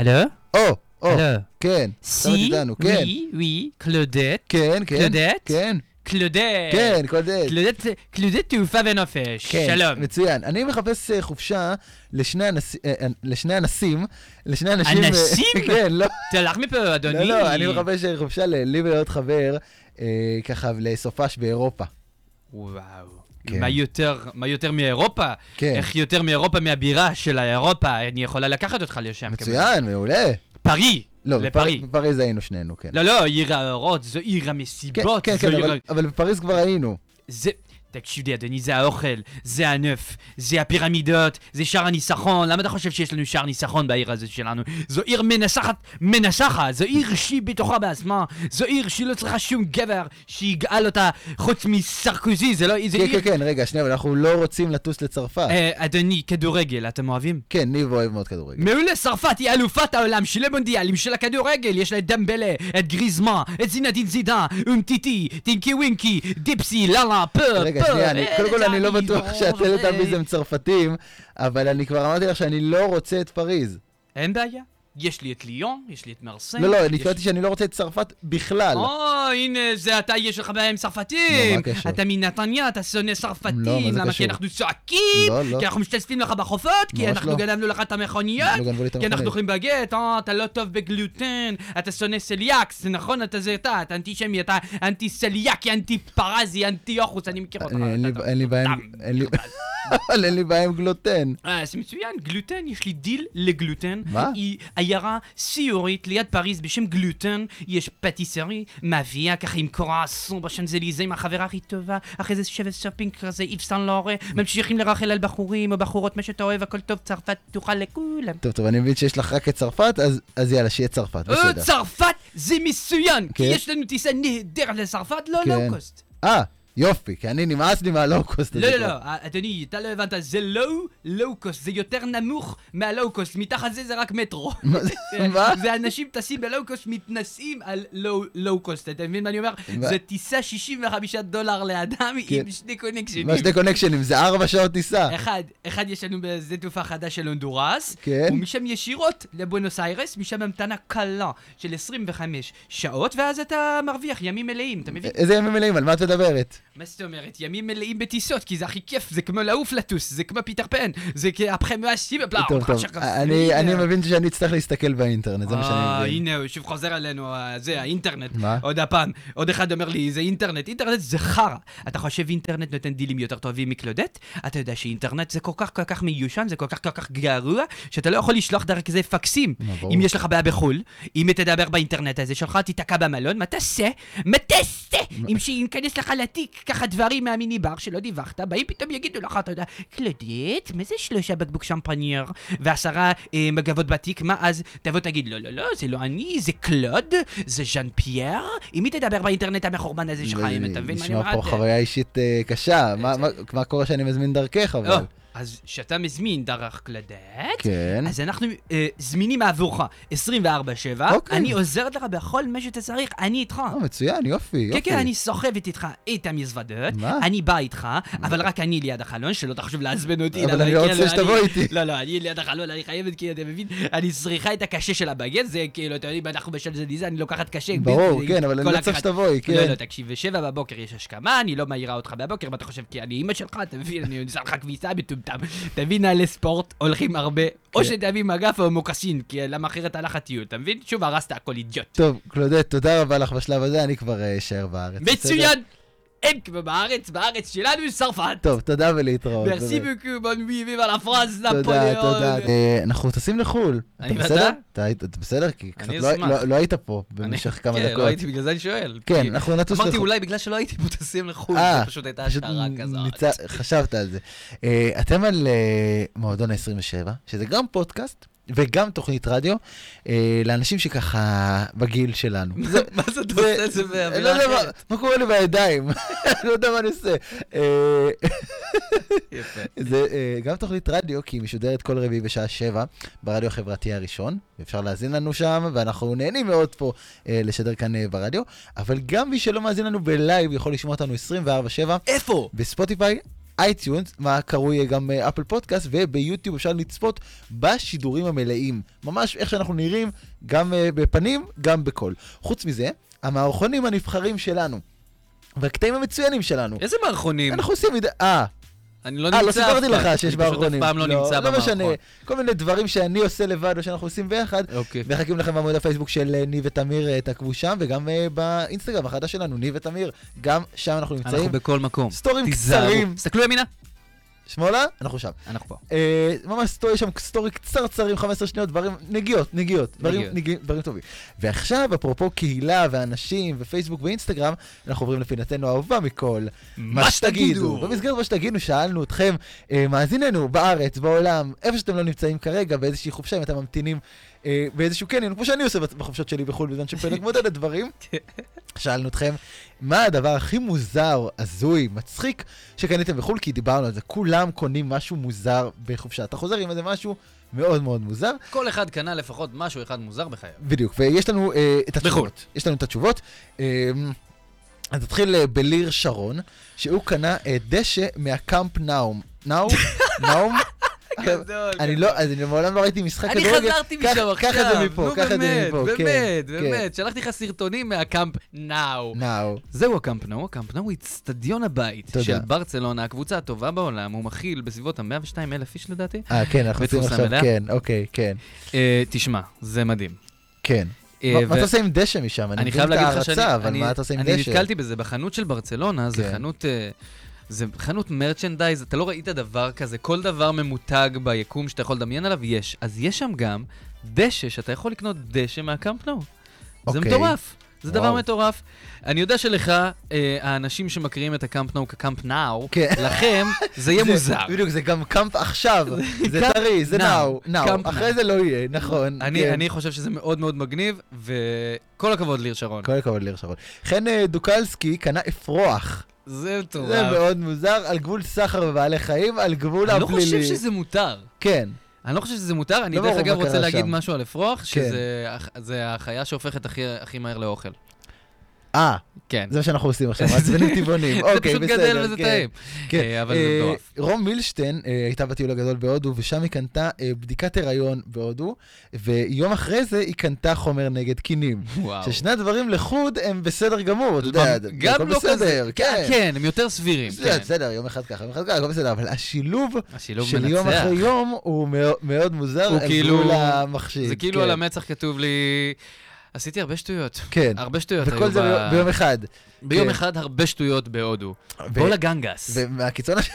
Speaker 4: Allô
Speaker 3: או, או,
Speaker 4: Allô
Speaker 3: כן, עכשיו את
Speaker 4: Si,
Speaker 3: איתנו, כן,
Speaker 4: oui, oui, Claudette.
Speaker 3: כן, כן,
Speaker 4: קלודט?
Speaker 3: כן,
Speaker 4: Claudette
Speaker 3: כן, קלודט.
Speaker 4: Claudette, Claudette, t'es au fave
Speaker 3: כן,
Speaker 4: Shalom.
Speaker 3: מצוין. אני מחפש אה, חופשה לשני, הנס... אה, אה, לשני אנסים, לשני אנשים... אה,
Speaker 4: אנסים?
Speaker 3: כן, לא,
Speaker 4: T'as l'armée peu,
Speaker 3: לא,
Speaker 4: Adonis
Speaker 3: לא, אני מחפש אה, חופשה לי ולעוד חבר, אה, ככה לסופש באירופה.
Speaker 4: וואו.
Speaker 3: כן.
Speaker 4: מה יותר, מה יותר מאירופה?
Speaker 3: כן,
Speaker 4: איך יותר מאירופה מהבירה של האירופה? אני יכולה לקחת אותך לשם. כמובן.
Speaker 3: מצוין, מעולה.
Speaker 4: פרי!
Speaker 3: לא,
Speaker 4: לפרי.
Speaker 3: בפר- בפריז היינו שנינו, כן.
Speaker 4: לא, לא, עיר האורות, זו עיר
Speaker 3: כן,
Speaker 4: המסיבות.
Speaker 3: כן,
Speaker 4: זו
Speaker 3: כן,
Speaker 4: עיר
Speaker 3: אבל- אבל בפריז כבר היינו.
Speaker 4: זה... תקשיבי, אדוני, זה האוכל, זה הנף, זה הפירמידות, זה שער הניסחון. למה אתה חושב שיש לנו שער ניסחון בעיר הזו שלנו? זו עיר מנסחת, מנסחת, זו עיר שהיא בתוכה בעצמה, זו עיר שהיא לא צריכה שום גבר שיגאל אותה חוץ מסרקוזי, זה לא... זה
Speaker 3: כן,
Speaker 4: עיר...
Speaker 3: כן, כן, רגע, שנייה, אבל אנחנו לא רוצים לטוס לצרפת.
Speaker 4: אה, אדוני, כדורגל, אתם אוהבים?
Speaker 3: כן, ניב אוהב מאוד כדורגל.
Speaker 4: מעולה, צרפת היא אלופת העולם של המונדיאלים של הכדורגל, יש לה את דמבלה, את גריזמה, את זינדין זידן, אומטיטי, טינקי ווינקי, דיפסי, לאלה, פר,
Speaker 3: רגע,
Speaker 4: פר,
Speaker 3: שנייה, אני-
Speaker 4: אה,
Speaker 3: קודם כל אני לא
Speaker 4: אה,
Speaker 3: בטוח
Speaker 4: אה,
Speaker 3: שהטלטאביז הם צרפתים, אבל אני כבר אמרתי לך שאני לא רוצה את פריז.
Speaker 4: אין בעיה, יש לי את ליון, יש לי את מרסיי.
Speaker 3: לא, לא, אני
Speaker 4: יש-
Speaker 3: התכוונתי שאני לא רוצה את צרפת בכלל.
Speaker 4: או, הנה, זה אתה, יש לך בעיה עם
Speaker 3: נו,
Speaker 4: צרפתים.
Speaker 3: מה הקשר?
Speaker 4: אתה מנתניה, אתה שונא
Speaker 3: לא, מה
Speaker 4: צרפתים.
Speaker 3: זה
Speaker 4: למה?
Speaker 3: קשור?
Speaker 4: כי אנחנו צועקים,
Speaker 3: לא, לא.
Speaker 4: כי אנחנו משתתפים לך בחופות, כי
Speaker 3: ממש לא.
Speaker 4: אנחנו גנבנו לך את המכוניות.
Speaker 3: לא גנבו לי את
Speaker 4: כי אנחנו
Speaker 3: המכונית.
Speaker 4: אוכלים בגט, אה, אתה לא טוב בגלוטן, אתה שונא סליאקס, נכון? אתה זה אתה, אתה אנטישמי, אתה אנטי סליאקי, אנטי פרזי, אנטי אוכוס, אני מכיר אותך.
Speaker 3: אה, אני- אין לי-
Speaker 4: אתה-
Speaker 3: אין לי בעיה עם-
Speaker 4: דם.
Speaker 3: אין לי- אבל אין לי בעיה עם גלוטן.
Speaker 4: אה, זה מצוין, גלוטן, יש לי דיל לגלוטן.
Speaker 3: מה?
Speaker 4: היא עיירה סיורית ליד פריז בשם גלוטן, יש פטיסרי, מביאה ככה עם קורעסון בשנזליזה עם החברה הכי טובה, אחרי זה שבת שופינג כזה, איב סן לורה, ממשיכים לרחל על בחורים או בחורות, מה שאתה אוהב, הכל טוב, צרפת פתוחה לכולם.
Speaker 3: טוב, טוב, אני מבין שיש לך רק את צרפת, אז- אז יאללה, שיהיה צרפת,
Speaker 4: אה,
Speaker 3: בסדר.
Speaker 4: צרפת זה מצוין, כי
Speaker 3: כן.
Speaker 4: יש לנו טיסה נהדרת לצרפת, לא
Speaker 3: כן.
Speaker 4: לואו-קוסט.
Speaker 3: אה, יופי, כי אני נמאס לי מהלואו-קוסט הזה.
Speaker 4: לא, לא,
Speaker 3: כבר.
Speaker 4: לא, אדוני, אתה לא הבנת, זה לואו, לואו-קוסט, זה יותר נמוך מהלואו-קוסט, מתחת זה זה רק מטרו.
Speaker 3: מה זה- מה?
Speaker 4: זה אנשים טסים בלואו-קוסט, מתנשאים על לואו-קוסט, אתה מבין מה אני אומר?
Speaker 3: מה?
Speaker 4: זו טיסה 65 דולר לאדם עם שני קונקשנים.
Speaker 3: מה שני קונקשנים, זה ארבע שעות טיסה.
Speaker 4: אחד, אחד יש לנו בשדה תעופה חדש של הונדורס,
Speaker 3: כן.
Speaker 4: ומשם ישירות לבואנוס איירס, משם המתנה קלה של 25 שעות, ואז אתה מרוויח ימים מלאים, אתה מבין?
Speaker 3: א- איזה ימים מלאים, על מה את מדברת?
Speaker 4: מה זאת אומרת? ימים מלאים בטיסות, כי זה הכי כיף, זה כמו לעוף לטוס, זה כמו פיטר פן, זה כאפכם מאשים, בלה,
Speaker 3: טוב, טוב, אני- אני מבין שאני אצטרך להסתכל באינטרנט, זה מה שאני מבין.
Speaker 4: אה, הנה, הוא שוב חוזר אלינו, אה, זה, האינטרנט.
Speaker 3: מה?
Speaker 4: עוד הפעם, עוד אחד אומר לי, זה אינטרנט. אינטרנט זה חרא. אתה חושב אינטרנט נותן דילים יותר טובים מקלודט? אתה יודע שאינטרנט זה כל כך כל כך מיושן, זה כל כך כל כך גרוע, שאתה לא יכול לשלוח דרך זה פקסים.
Speaker 3: מה, ברור.
Speaker 4: אם יש לך בעיה בחו"ל, אם תדבר באינטרנט הזה שלך, תיתקע במלון, מה תעשה? מה תעשה? אם שייכנס לך לתיק ככה דברים מהמיני בר שלא דיווחת, באים פתאום יגידו לך, אתה יודע, קלודט, מה זה שלושה בקבוק שמפנייר ועשרה אה, מגבות בתיק, מה אז? תבוא תגיד, לא, לא, לא, זה לא אני, זה קלוד, זה ז'אן פייר, עם מי תדבר באינטרנט המחורבן הזה שלך, אם אתה מבין מה אני
Speaker 3: נשמע פה
Speaker 4: אומר?
Speaker 3: חוויה אישית אה, קשה, מה- מה- מה קורה שאני מזמין דרכך,
Speaker 4: אה,
Speaker 3: אבל.
Speaker 4: אז שאתה מזמין דרך קלודט,
Speaker 3: כן.
Speaker 4: אז אנחנו אה, זמינים עבורך 24/7,
Speaker 3: אוקיי.
Speaker 4: אני עוזרת לך בכל מה שאתה צריך, אני איתך.
Speaker 3: אה, מצוין, יופי,
Speaker 4: כן,
Speaker 3: יופי.
Speaker 4: כן, אני סוחבת איתך את המזוודות,
Speaker 3: מה?
Speaker 4: אני באה איתך, אבל רק אני ליד החלון, שלא תחשוב לעצבן אותי.
Speaker 3: אבל
Speaker 4: למה?
Speaker 3: אני לא
Speaker 4: כאילו,
Speaker 3: רוצה שתבוא
Speaker 4: אני-
Speaker 3: איתי.
Speaker 4: לא, לא, אני ליד החלון, אני חייבת, כי אתה מבין, אני צריכה את הקשה של הבגט, זה כאילו, אתה יודע, אנחנו בשם של דיזה, אני לוקחת קשה.
Speaker 3: ברור,
Speaker 4: בדיוק,
Speaker 3: כן, אבל אני
Speaker 4: כל
Speaker 3: לא צריך
Speaker 4: הקחת-
Speaker 3: שתבואי,
Speaker 4: לא,
Speaker 3: כן.
Speaker 4: לא, תקשיב, בשבע בבוקר יש השכמה, אני לא מעירה אותך בבוקר, מה אתה חושב, כי אני אימא שלך, אתה מבין, אני עושה לך כביסה מטומטם. תביא נעלי ספורט, הולכים הרבה,
Speaker 3: כן.
Speaker 4: או שתביא מגף או מוקסין, כי למה אחרת הלך הטיול, אתה מבין? שוב הרסת הכל אידיוט.
Speaker 3: טוב, קלודט, תודה רבה לך בשלב הזה, אני כבר אה, אשאר בארץ. בסדר?
Speaker 4: מצוין!
Speaker 1: אין כמו בארץ, בארץ שלנו יש צרפת.
Speaker 3: טוב, תודה ולהתראות.
Speaker 1: מרסי
Speaker 3: באמת.
Speaker 1: בוקו, בון ווי, ויבה לה פרנס,
Speaker 3: תודה,
Speaker 1: נפוליאון.
Speaker 3: תודה. אה, אנחנו טסים לחו"ל.
Speaker 4: אני
Speaker 3: אתה
Speaker 4: ואתה?
Speaker 3: בסדר? אתה היית- אתה בסדר? כי קצת
Speaker 4: אני
Speaker 3: לא-
Speaker 4: אשמח.
Speaker 3: לא- לא היית פה
Speaker 4: אני-
Speaker 3: במשך כמה
Speaker 4: כן, לא
Speaker 3: דקות.
Speaker 4: הייתי, בגלל זה אני שואל.
Speaker 3: כן,
Speaker 4: כי-
Speaker 3: אנחנו נטוס
Speaker 4: אמרתי
Speaker 3: לחו"ל.
Speaker 4: אולי בגלל שלא הייתי מוטסים לחו"ל,
Speaker 3: אה,
Speaker 4: זה פשוט הייתה
Speaker 3: פשוט
Speaker 4: השערה כזאת.
Speaker 3: ניצ- חשבת על זה. אה, אתם על אה, מועדון ה-27, שזה גם פודקאסט וגם תוכנית רדיו, אה, לאנשים שככה בגיל שלנו. זה-
Speaker 4: מה זה אתה עושה את זה
Speaker 3: אני לא
Speaker 4: באווירה
Speaker 3: יודע מה-
Speaker 4: אחרת?
Speaker 3: מה קורה לי בידיים, אני לא יודע מה אני עושה. אה,
Speaker 4: יפה.
Speaker 3: זה אה, גם תוכנית רדיו, כי היא משודרת כל רביעי בשעה שבע ברדיו החברתי הראשון, אפשר להאזין לנו שם, ואנחנו נהנים מאוד פה אה, לשדר כאן אה, ברדיו, אבל גם מי שלא מאזין לנו בלייב יכול לשמוע אותנו 24/7
Speaker 4: איפה?
Speaker 3: בספוטיפיי, אייטיונס, מה קרוי אה, גם אה, אפל פודקאסט, וביוטיוב אפשר לצפות בשידורים המלאים. ממש איך שאנחנו נראים, גם אה, בפנים, גם בקול. חוץ מזה, המערכונים הנבחרים שלנו, והקטעים המצוינים שלנו.
Speaker 4: איזה מערכונים?
Speaker 3: אנחנו עושים... מדי- אה,
Speaker 4: אני לא נמצא
Speaker 3: אה, לא
Speaker 4: אף פעם.
Speaker 3: סיפרתי לך שיש
Speaker 4: אני פשוט
Speaker 3: מערכונים.
Speaker 4: אף פעם לא נמצא במערכון.
Speaker 3: לא משנה, כל מיני דברים שאני עושה לבד או שאנחנו עושים ביחד.
Speaker 4: אוקיי.
Speaker 3: מחכים לכם בעמוד הפייסבוק של אה, ניב ותמיר, אה, תעקבו שם, וגם אה, באינסטגרם החדש שלנו, ניב ותמיר, גם שם אנחנו
Speaker 4: אנחנו
Speaker 3: נמצאים.
Speaker 4: בכל מקום.
Speaker 3: סטורים
Speaker 4: תיזהרו.
Speaker 3: קצרים.
Speaker 4: תסתכלו ימינה.
Speaker 3: שמאלה, אנחנו שם.
Speaker 4: אנחנו פה.
Speaker 3: אה, ממש סטורי, יש שם סטורי קצרצרים, 15 שניות, דברים, נגיעות, נגיעות, דברים,
Speaker 4: נגיעות.
Speaker 3: נגיע, דברים טובים. ועכשיו, אפרופו קהילה ואנשים ופייסבוק ואינסטגרם, אנחנו עוברים לפינתנו האהובה מכל.
Speaker 4: מה שתגידו.
Speaker 3: במסגרת מה שתגידו, שאלנו אתכם, אה, מאזיננו, בארץ, בעולם, איפה שאתם לא נמצאים כרגע, באיזושהי חופשה, אם אתם ממתינים אה, באיזשהו קניון, כמו שאני עושה בצ- בחופשות שלי בחו"ל, בזמן שפלג מודד את דברים.
Speaker 4: כן.
Speaker 3: שאלנו אתכם, מה הדבר הכי מוזר, הזוי, מצחיק, שקניתם בחו"ל? כי דיברנו על זה, כולם קונים משהו מוזר בחופשה. אתה חוזר עם איזה משהו מאוד מאוד מוזר,
Speaker 4: כל אחד קנה לפחות משהו אחד מוזר בחייו.
Speaker 3: בדיוק, ויש לנו אה, את
Speaker 4: בחו"ל.
Speaker 3: התשובות. יש לנו את התשובות. אה, אז נתחיל אה, בליר שרון, שהוא קנה אה, דשא מהקאמפ נאום. נאום? נאום?
Speaker 4: גדול.
Speaker 3: אני לא, אז אני מעולם לא ראיתי משחק
Speaker 4: כן. אני חזרתי
Speaker 3: קח-
Speaker 4: משם עכשיו.
Speaker 3: קח את זה מפה,
Speaker 4: נו,
Speaker 3: קח את זה
Speaker 4: באמת,
Speaker 3: מפה. כן,
Speaker 4: באמת,
Speaker 3: כן.
Speaker 4: באמת. שלחתי לך סרטונים מהקאמפ נאו.
Speaker 3: נאו.
Speaker 4: זהו הקאמפ נאו, הקאמפ נאו הוא אצטדיון הבית
Speaker 3: תודה.
Speaker 4: של ברצלונה, הקבוצה הטובה בעולם, הוא מכיל בסביבות ה-102 אלף איש לדעתי.
Speaker 3: אה, כן, אנחנו עושים
Speaker 4: בתפוסה
Speaker 3: עכשיו,
Speaker 4: מלאה?
Speaker 3: כן, אוקיי, כן,
Speaker 4: אה, תשמע, זה מדהים.
Speaker 3: כן.
Speaker 4: אה,
Speaker 3: מה
Speaker 4: ו-
Speaker 3: מה אתה עושה עם דשא משם? אני
Speaker 4: אני
Speaker 3: מבין
Speaker 4: חייב
Speaker 3: את
Speaker 4: להגיד לך שאני...
Speaker 3: ההערצה, אבל
Speaker 4: אני-
Speaker 3: מה אתה עושה עם
Speaker 4: אני
Speaker 3: דשא?
Speaker 4: נתקלתי בזה בחנות של ברצלונה, זה
Speaker 3: כן.
Speaker 4: חנות... אה, זה חנות מרצ'נדייז, אתה לא ראית דבר כזה, כל דבר ממותג ביקום שאתה יכול לדמיין עליו, יש. אז יש שם גם דשא, שאתה יכול לקנות דשא מהקמפנו. זה
Speaker 3: אוקיי.
Speaker 4: מטורף, זה דבר
Speaker 3: וואו.
Speaker 4: מטורף. אני יודע שלך, אה, האנשים שמקריאים את הקמפנו כקמפנאו,
Speaker 3: כן.
Speaker 4: לכם זה יהיה
Speaker 3: זה-
Speaker 4: מוזר.
Speaker 3: בדיוק, זה גם קאמפ עכשיו, זה
Speaker 4: קאמפ
Speaker 3: טרי, זה נאו,
Speaker 4: נאו,
Speaker 3: נאו,
Speaker 4: קאמפ
Speaker 3: אחרי
Speaker 4: נאו.
Speaker 3: זה לא יהיה, נכון.
Speaker 4: אני,
Speaker 3: כן.
Speaker 4: אני חושב שזה מאוד מאוד מגניב, וכל הכבוד ליר שרון.
Speaker 3: כל הכבוד ליר שרון. חן אה, דוקלסקי קנה אפרוח.
Speaker 4: זה מטורף.
Speaker 3: זה מאוד מוזר, על גבול סחר בבעלי חיים, על גבול
Speaker 4: אני לא
Speaker 3: הפלילי.
Speaker 4: חושב שזה מותר.
Speaker 3: כן,
Speaker 4: אני לא חושב שזה מותר, אני
Speaker 3: לא
Speaker 4: דרך
Speaker 3: ברור
Speaker 4: אגב
Speaker 3: מה קרה
Speaker 4: רוצה להגיד
Speaker 3: שם. כן.
Speaker 4: משהו על אפרוח, שזה הח- זה החיה שהופכת הכי- הכי מהר לאוכל.
Speaker 3: אה,
Speaker 4: כן.
Speaker 3: זה מה שאנחנו עושים עכשיו, מעצבנים טבעונים.
Speaker 4: זה
Speaker 3: אוקיי,
Speaker 4: פשוט
Speaker 3: בסדר.
Speaker 4: גדל וזה
Speaker 3: כן,
Speaker 4: טעים.
Speaker 3: כן.
Speaker 4: אה, אבל
Speaker 3: אה,
Speaker 4: זה מטורף.
Speaker 3: רום מילשטיין אה, הייתה בטיול הגדול בהודו, ושם היא קנתה אה, בדיקת הריון בהודו, ויום אחרי זה היא קנתה חומר נגד קינים.
Speaker 4: וואו.
Speaker 3: ששני הדברים לחוד הם בסדר גמור, אתה יודע, זה-
Speaker 4: גם
Speaker 3: הכל
Speaker 4: לא
Speaker 3: בסדר,
Speaker 4: כזה.
Speaker 3: כן.
Speaker 4: כן, הם יותר סבירים.
Speaker 3: בסדר,
Speaker 4: כן.
Speaker 3: בסדר, יום אחד ככה, יום אחד ככה, הכל בסדר, אבל השילוב
Speaker 4: השילוב
Speaker 3: של יום
Speaker 4: לא מנצח.
Speaker 3: אחרי יום הוא מאו- מאוד מוזר,
Speaker 4: הוא
Speaker 3: אל
Speaker 4: כאילו-
Speaker 3: מול המחשיד.
Speaker 4: זה
Speaker 3: כן.
Speaker 4: כאילו על המצח כתוב לי, עשיתי הרבה שטויות.
Speaker 3: כן,
Speaker 4: הרבה שטויות היו
Speaker 3: וכל זה
Speaker 4: ב-
Speaker 3: ביום- ביום אחד.
Speaker 4: ביום
Speaker 3: כן.
Speaker 4: אחד הרבה שטויות בהודו.
Speaker 3: ו-
Speaker 4: בוא לגנגס.
Speaker 3: ומהקיצון הש-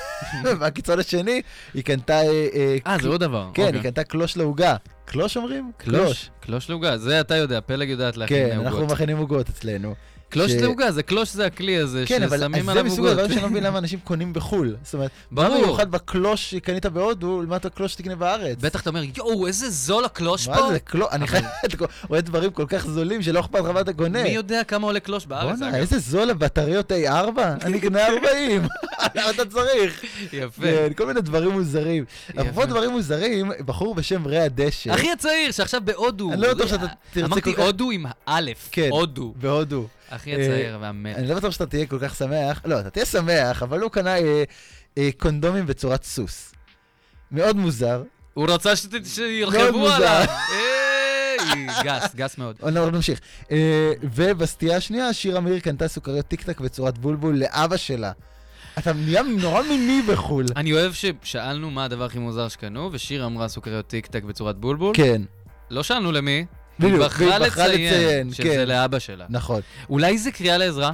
Speaker 3: מהקיצון השני, היא קנתה... אה, אה,
Speaker 4: אה, זה עוד דבר.
Speaker 3: כן,
Speaker 4: אוקיי.
Speaker 3: היא קנתה קלוש לעוגה. קלוש אומרים?
Speaker 4: קלוש. קלוש לעוגה, זה אתה יודע, פלג יודעת להכין
Speaker 3: כן,
Speaker 4: עוגות.
Speaker 3: אנחנו מכינים עוגות אצלנו.
Speaker 4: קלוש
Speaker 3: ש-
Speaker 4: לעוגה, זה קלוש זה הכלי הזה,
Speaker 3: כן, אבל אז
Speaker 4: ששמים
Speaker 3: זה
Speaker 4: עליו
Speaker 3: מסוג
Speaker 4: עוגות.
Speaker 3: הדברים שאני לא מבין למה אנשים קונים בחו"ל. זאת אומרת, מה
Speaker 4: ברור.
Speaker 3: במיוחד בקלוש שקנית בהודו, לעומת הקלוש שתקנה בארץ?
Speaker 4: בטח אתה אומר, יואו, איזה זול הקלוש פה?
Speaker 3: מה זה קלוש? אני חייב... אתה רואה דברים כל כך זולים שלא אכפת לך מה אתה קונה.
Speaker 4: מי יודע כמה עולה קלוש בארץ?
Speaker 3: בואנה,
Speaker 4: אגב?
Speaker 3: איזה זול הבטריות A4? אני אקנה 40, למה אתה צריך?
Speaker 4: יפה.
Speaker 3: כן, כל מיני דברים מוזרים. אפרופו דברים מוזרים, בחור בשם רע דשא.
Speaker 4: אחי הצעיר, שעכשיו בהודו.
Speaker 3: כן.
Speaker 4: אה,
Speaker 3: אני לא בטוח שאתה תרצה כל
Speaker 4: אמרתי
Speaker 3: כך-
Speaker 4: הודו עם האלף.
Speaker 3: כן.
Speaker 4: הודו.
Speaker 3: בהודו.
Speaker 4: אחי הצעיר והמת.
Speaker 3: אני לא בטוח שאתה תהיה כל כך שמח, לא, אתה תהיה שמח, אבל הוא קנה אה, אה, קונדומים בצורת סוס. מאוד מוזר,
Speaker 4: הוא רצה שת-
Speaker 3: מאוד
Speaker 4: שירחבו
Speaker 3: מוזר.
Speaker 4: עליו. היי, גס, גס מאוד.
Speaker 3: אבל אנחנו נמשיך. אה, ובסטייה השנייה, שירה מאיר קנתה סוכריות טיק טק בצורת בולבול לאבא שלה. אתה נהיה נורא מיני בחו"ל.
Speaker 4: אני אוהב ששאלנו מה הדבר הכי מוזר שקנו, ושירה אמרה סוכריות טיק טק בצורת בולבול.
Speaker 3: כן,
Speaker 4: לא שאלנו למי.
Speaker 3: בדיוק,
Speaker 4: היא
Speaker 3: והיא
Speaker 4: בחרה
Speaker 3: בחרה לציין,
Speaker 4: לציין שזה
Speaker 3: כן.
Speaker 4: לאבא שלה.
Speaker 3: נכון.
Speaker 4: אולי זה קריאה לעזרה?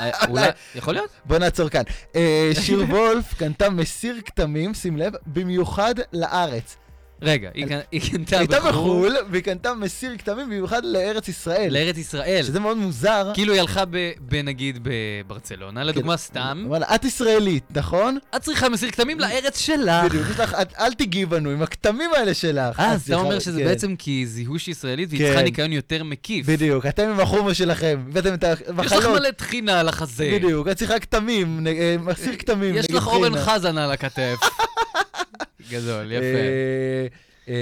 Speaker 5: אה, אולי, יכול להיות?
Speaker 3: בוא נעצור כאן. אה, שיר וולף קנתה מסיר כתמים, שים לב, במיוחד לארץ.
Speaker 5: רגע, היא קנ- היא קנתה
Speaker 3: הייתה
Speaker 5: בחו"ל
Speaker 3: בחו"ל, והיא קנתה מסיר כתמים במיוחד לארץ ישראל.
Speaker 5: לארץ ישראל.
Speaker 3: שזה מאוד מוזר.
Speaker 5: כאילו היא הלכה ב- בנגיד בברצלונה,
Speaker 3: כן.
Speaker 5: לדוגמה סתם,
Speaker 3: וואלה, את ישראלית, נכון?
Speaker 5: את צריכה מסיר כתמים לארץ שלך.
Speaker 3: בדיוק, יש לך, את- אל תגיעי בנו עם הכתמים האלה שלך.
Speaker 5: אה,
Speaker 3: את
Speaker 5: אז אתה
Speaker 3: צריכה-
Speaker 5: אומר שזה
Speaker 3: כן.
Speaker 5: בעצם כי היא זיהוש ישראלית והיא
Speaker 3: כן.
Speaker 5: צריכה ניקיון יותר מקיף.
Speaker 3: בדיוק, אתם עם החומר שלכם, הבאתם את
Speaker 5: יש לך
Speaker 3: המחלות.
Speaker 5: מלא טחינה על החזה.
Speaker 3: בדיוק, את צריכה כתמים, נ- אה, מסיר כתמים.
Speaker 5: יש
Speaker 3: נגד
Speaker 5: לך אורן
Speaker 3: חינה.
Speaker 5: חזן על הכתף. גדול, יפה.
Speaker 3: אה,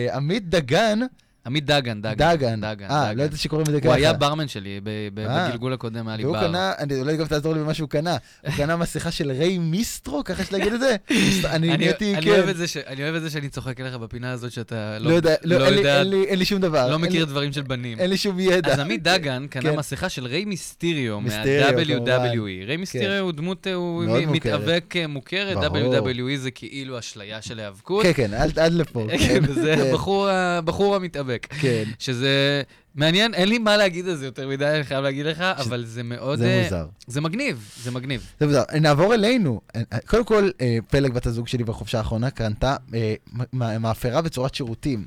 Speaker 3: אה, עמית דגן,
Speaker 5: עמית דגן, דגן.
Speaker 3: דגן,
Speaker 5: דגן.
Speaker 3: אה, לא ידעתי שקוראים לזה ככה.
Speaker 5: הוא היה ברמן שלי, ב- ב-
Speaker 3: אה.
Speaker 5: בגלגול הקודם היה לי
Speaker 3: והוא
Speaker 5: בר.
Speaker 3: קנה, אני אולי גם תעזור לי במה שהוא קנה, הוא קנה מסכה של ריי מיסטרו, ככה יש להגיד את זה? אני
Speaker 5: אני
Speaker 3: נהייתי,
Speaker 5: אני אוהב
Speaker 3: כן,
Speaker 5: את זה ש- אני אוהב את זה שאני צוחק עליך בפינה הזאת שאתה
Speaker 3: לא יודע, לא,
Speaker 5: לא
Speaker 3: אין לי-
Speaker 5: יודע,
Speaker 3: אין לי- אין לי שום דבר.
Speaker 5: לא
Speaker 3: אין לי-
Speaker 5: מכיר דברים של בנים.
Speaker 3: אין לי שום ידע.
Speaker 5: אז עמית דגן קנה
Speaker 3: כן.
Speaker 5: מסכה של ריי מיסטיריו
Speaker 3: מיסטריו,
Speaker 5: מה-WWE. ריי מיסטיריו הוא דמות, אה, הוא
Speaker 3: כן. מאוד
Speaker 5: מ-
Speaker 3: מוכרת.
Speaker 5: מתאבק אה, מוכרת,
Speaker 3: ברור.
Speaker 5: WWE זה כאילו אשליה של היאבקות.
Speaker 3: כן, כן, עד- עד לפה. כן,
Speaker 5: וזה
Speaker 3: כן,
Speaker 5: הבחור ה- הבחור המתאבק.
Speaker 3: כן,
Speaker 5: שזה מעניין, אין לי מה להגיד על זה יותר מדי, אני חייב להגיד לך, אבל זה מאוד...
Speaker 3: זה
Speaker 5: אה,
Speaker 3: מוזר.
Speaker 5: זה מגניב, זה מגניב.
Speaker 3: זה מוזר. נעבור אלינו. קודם כל, אה, פלג בת הזוג שלי בחופשה האחרונה קנתה אה, מ- מאפרה בצורת שירותים.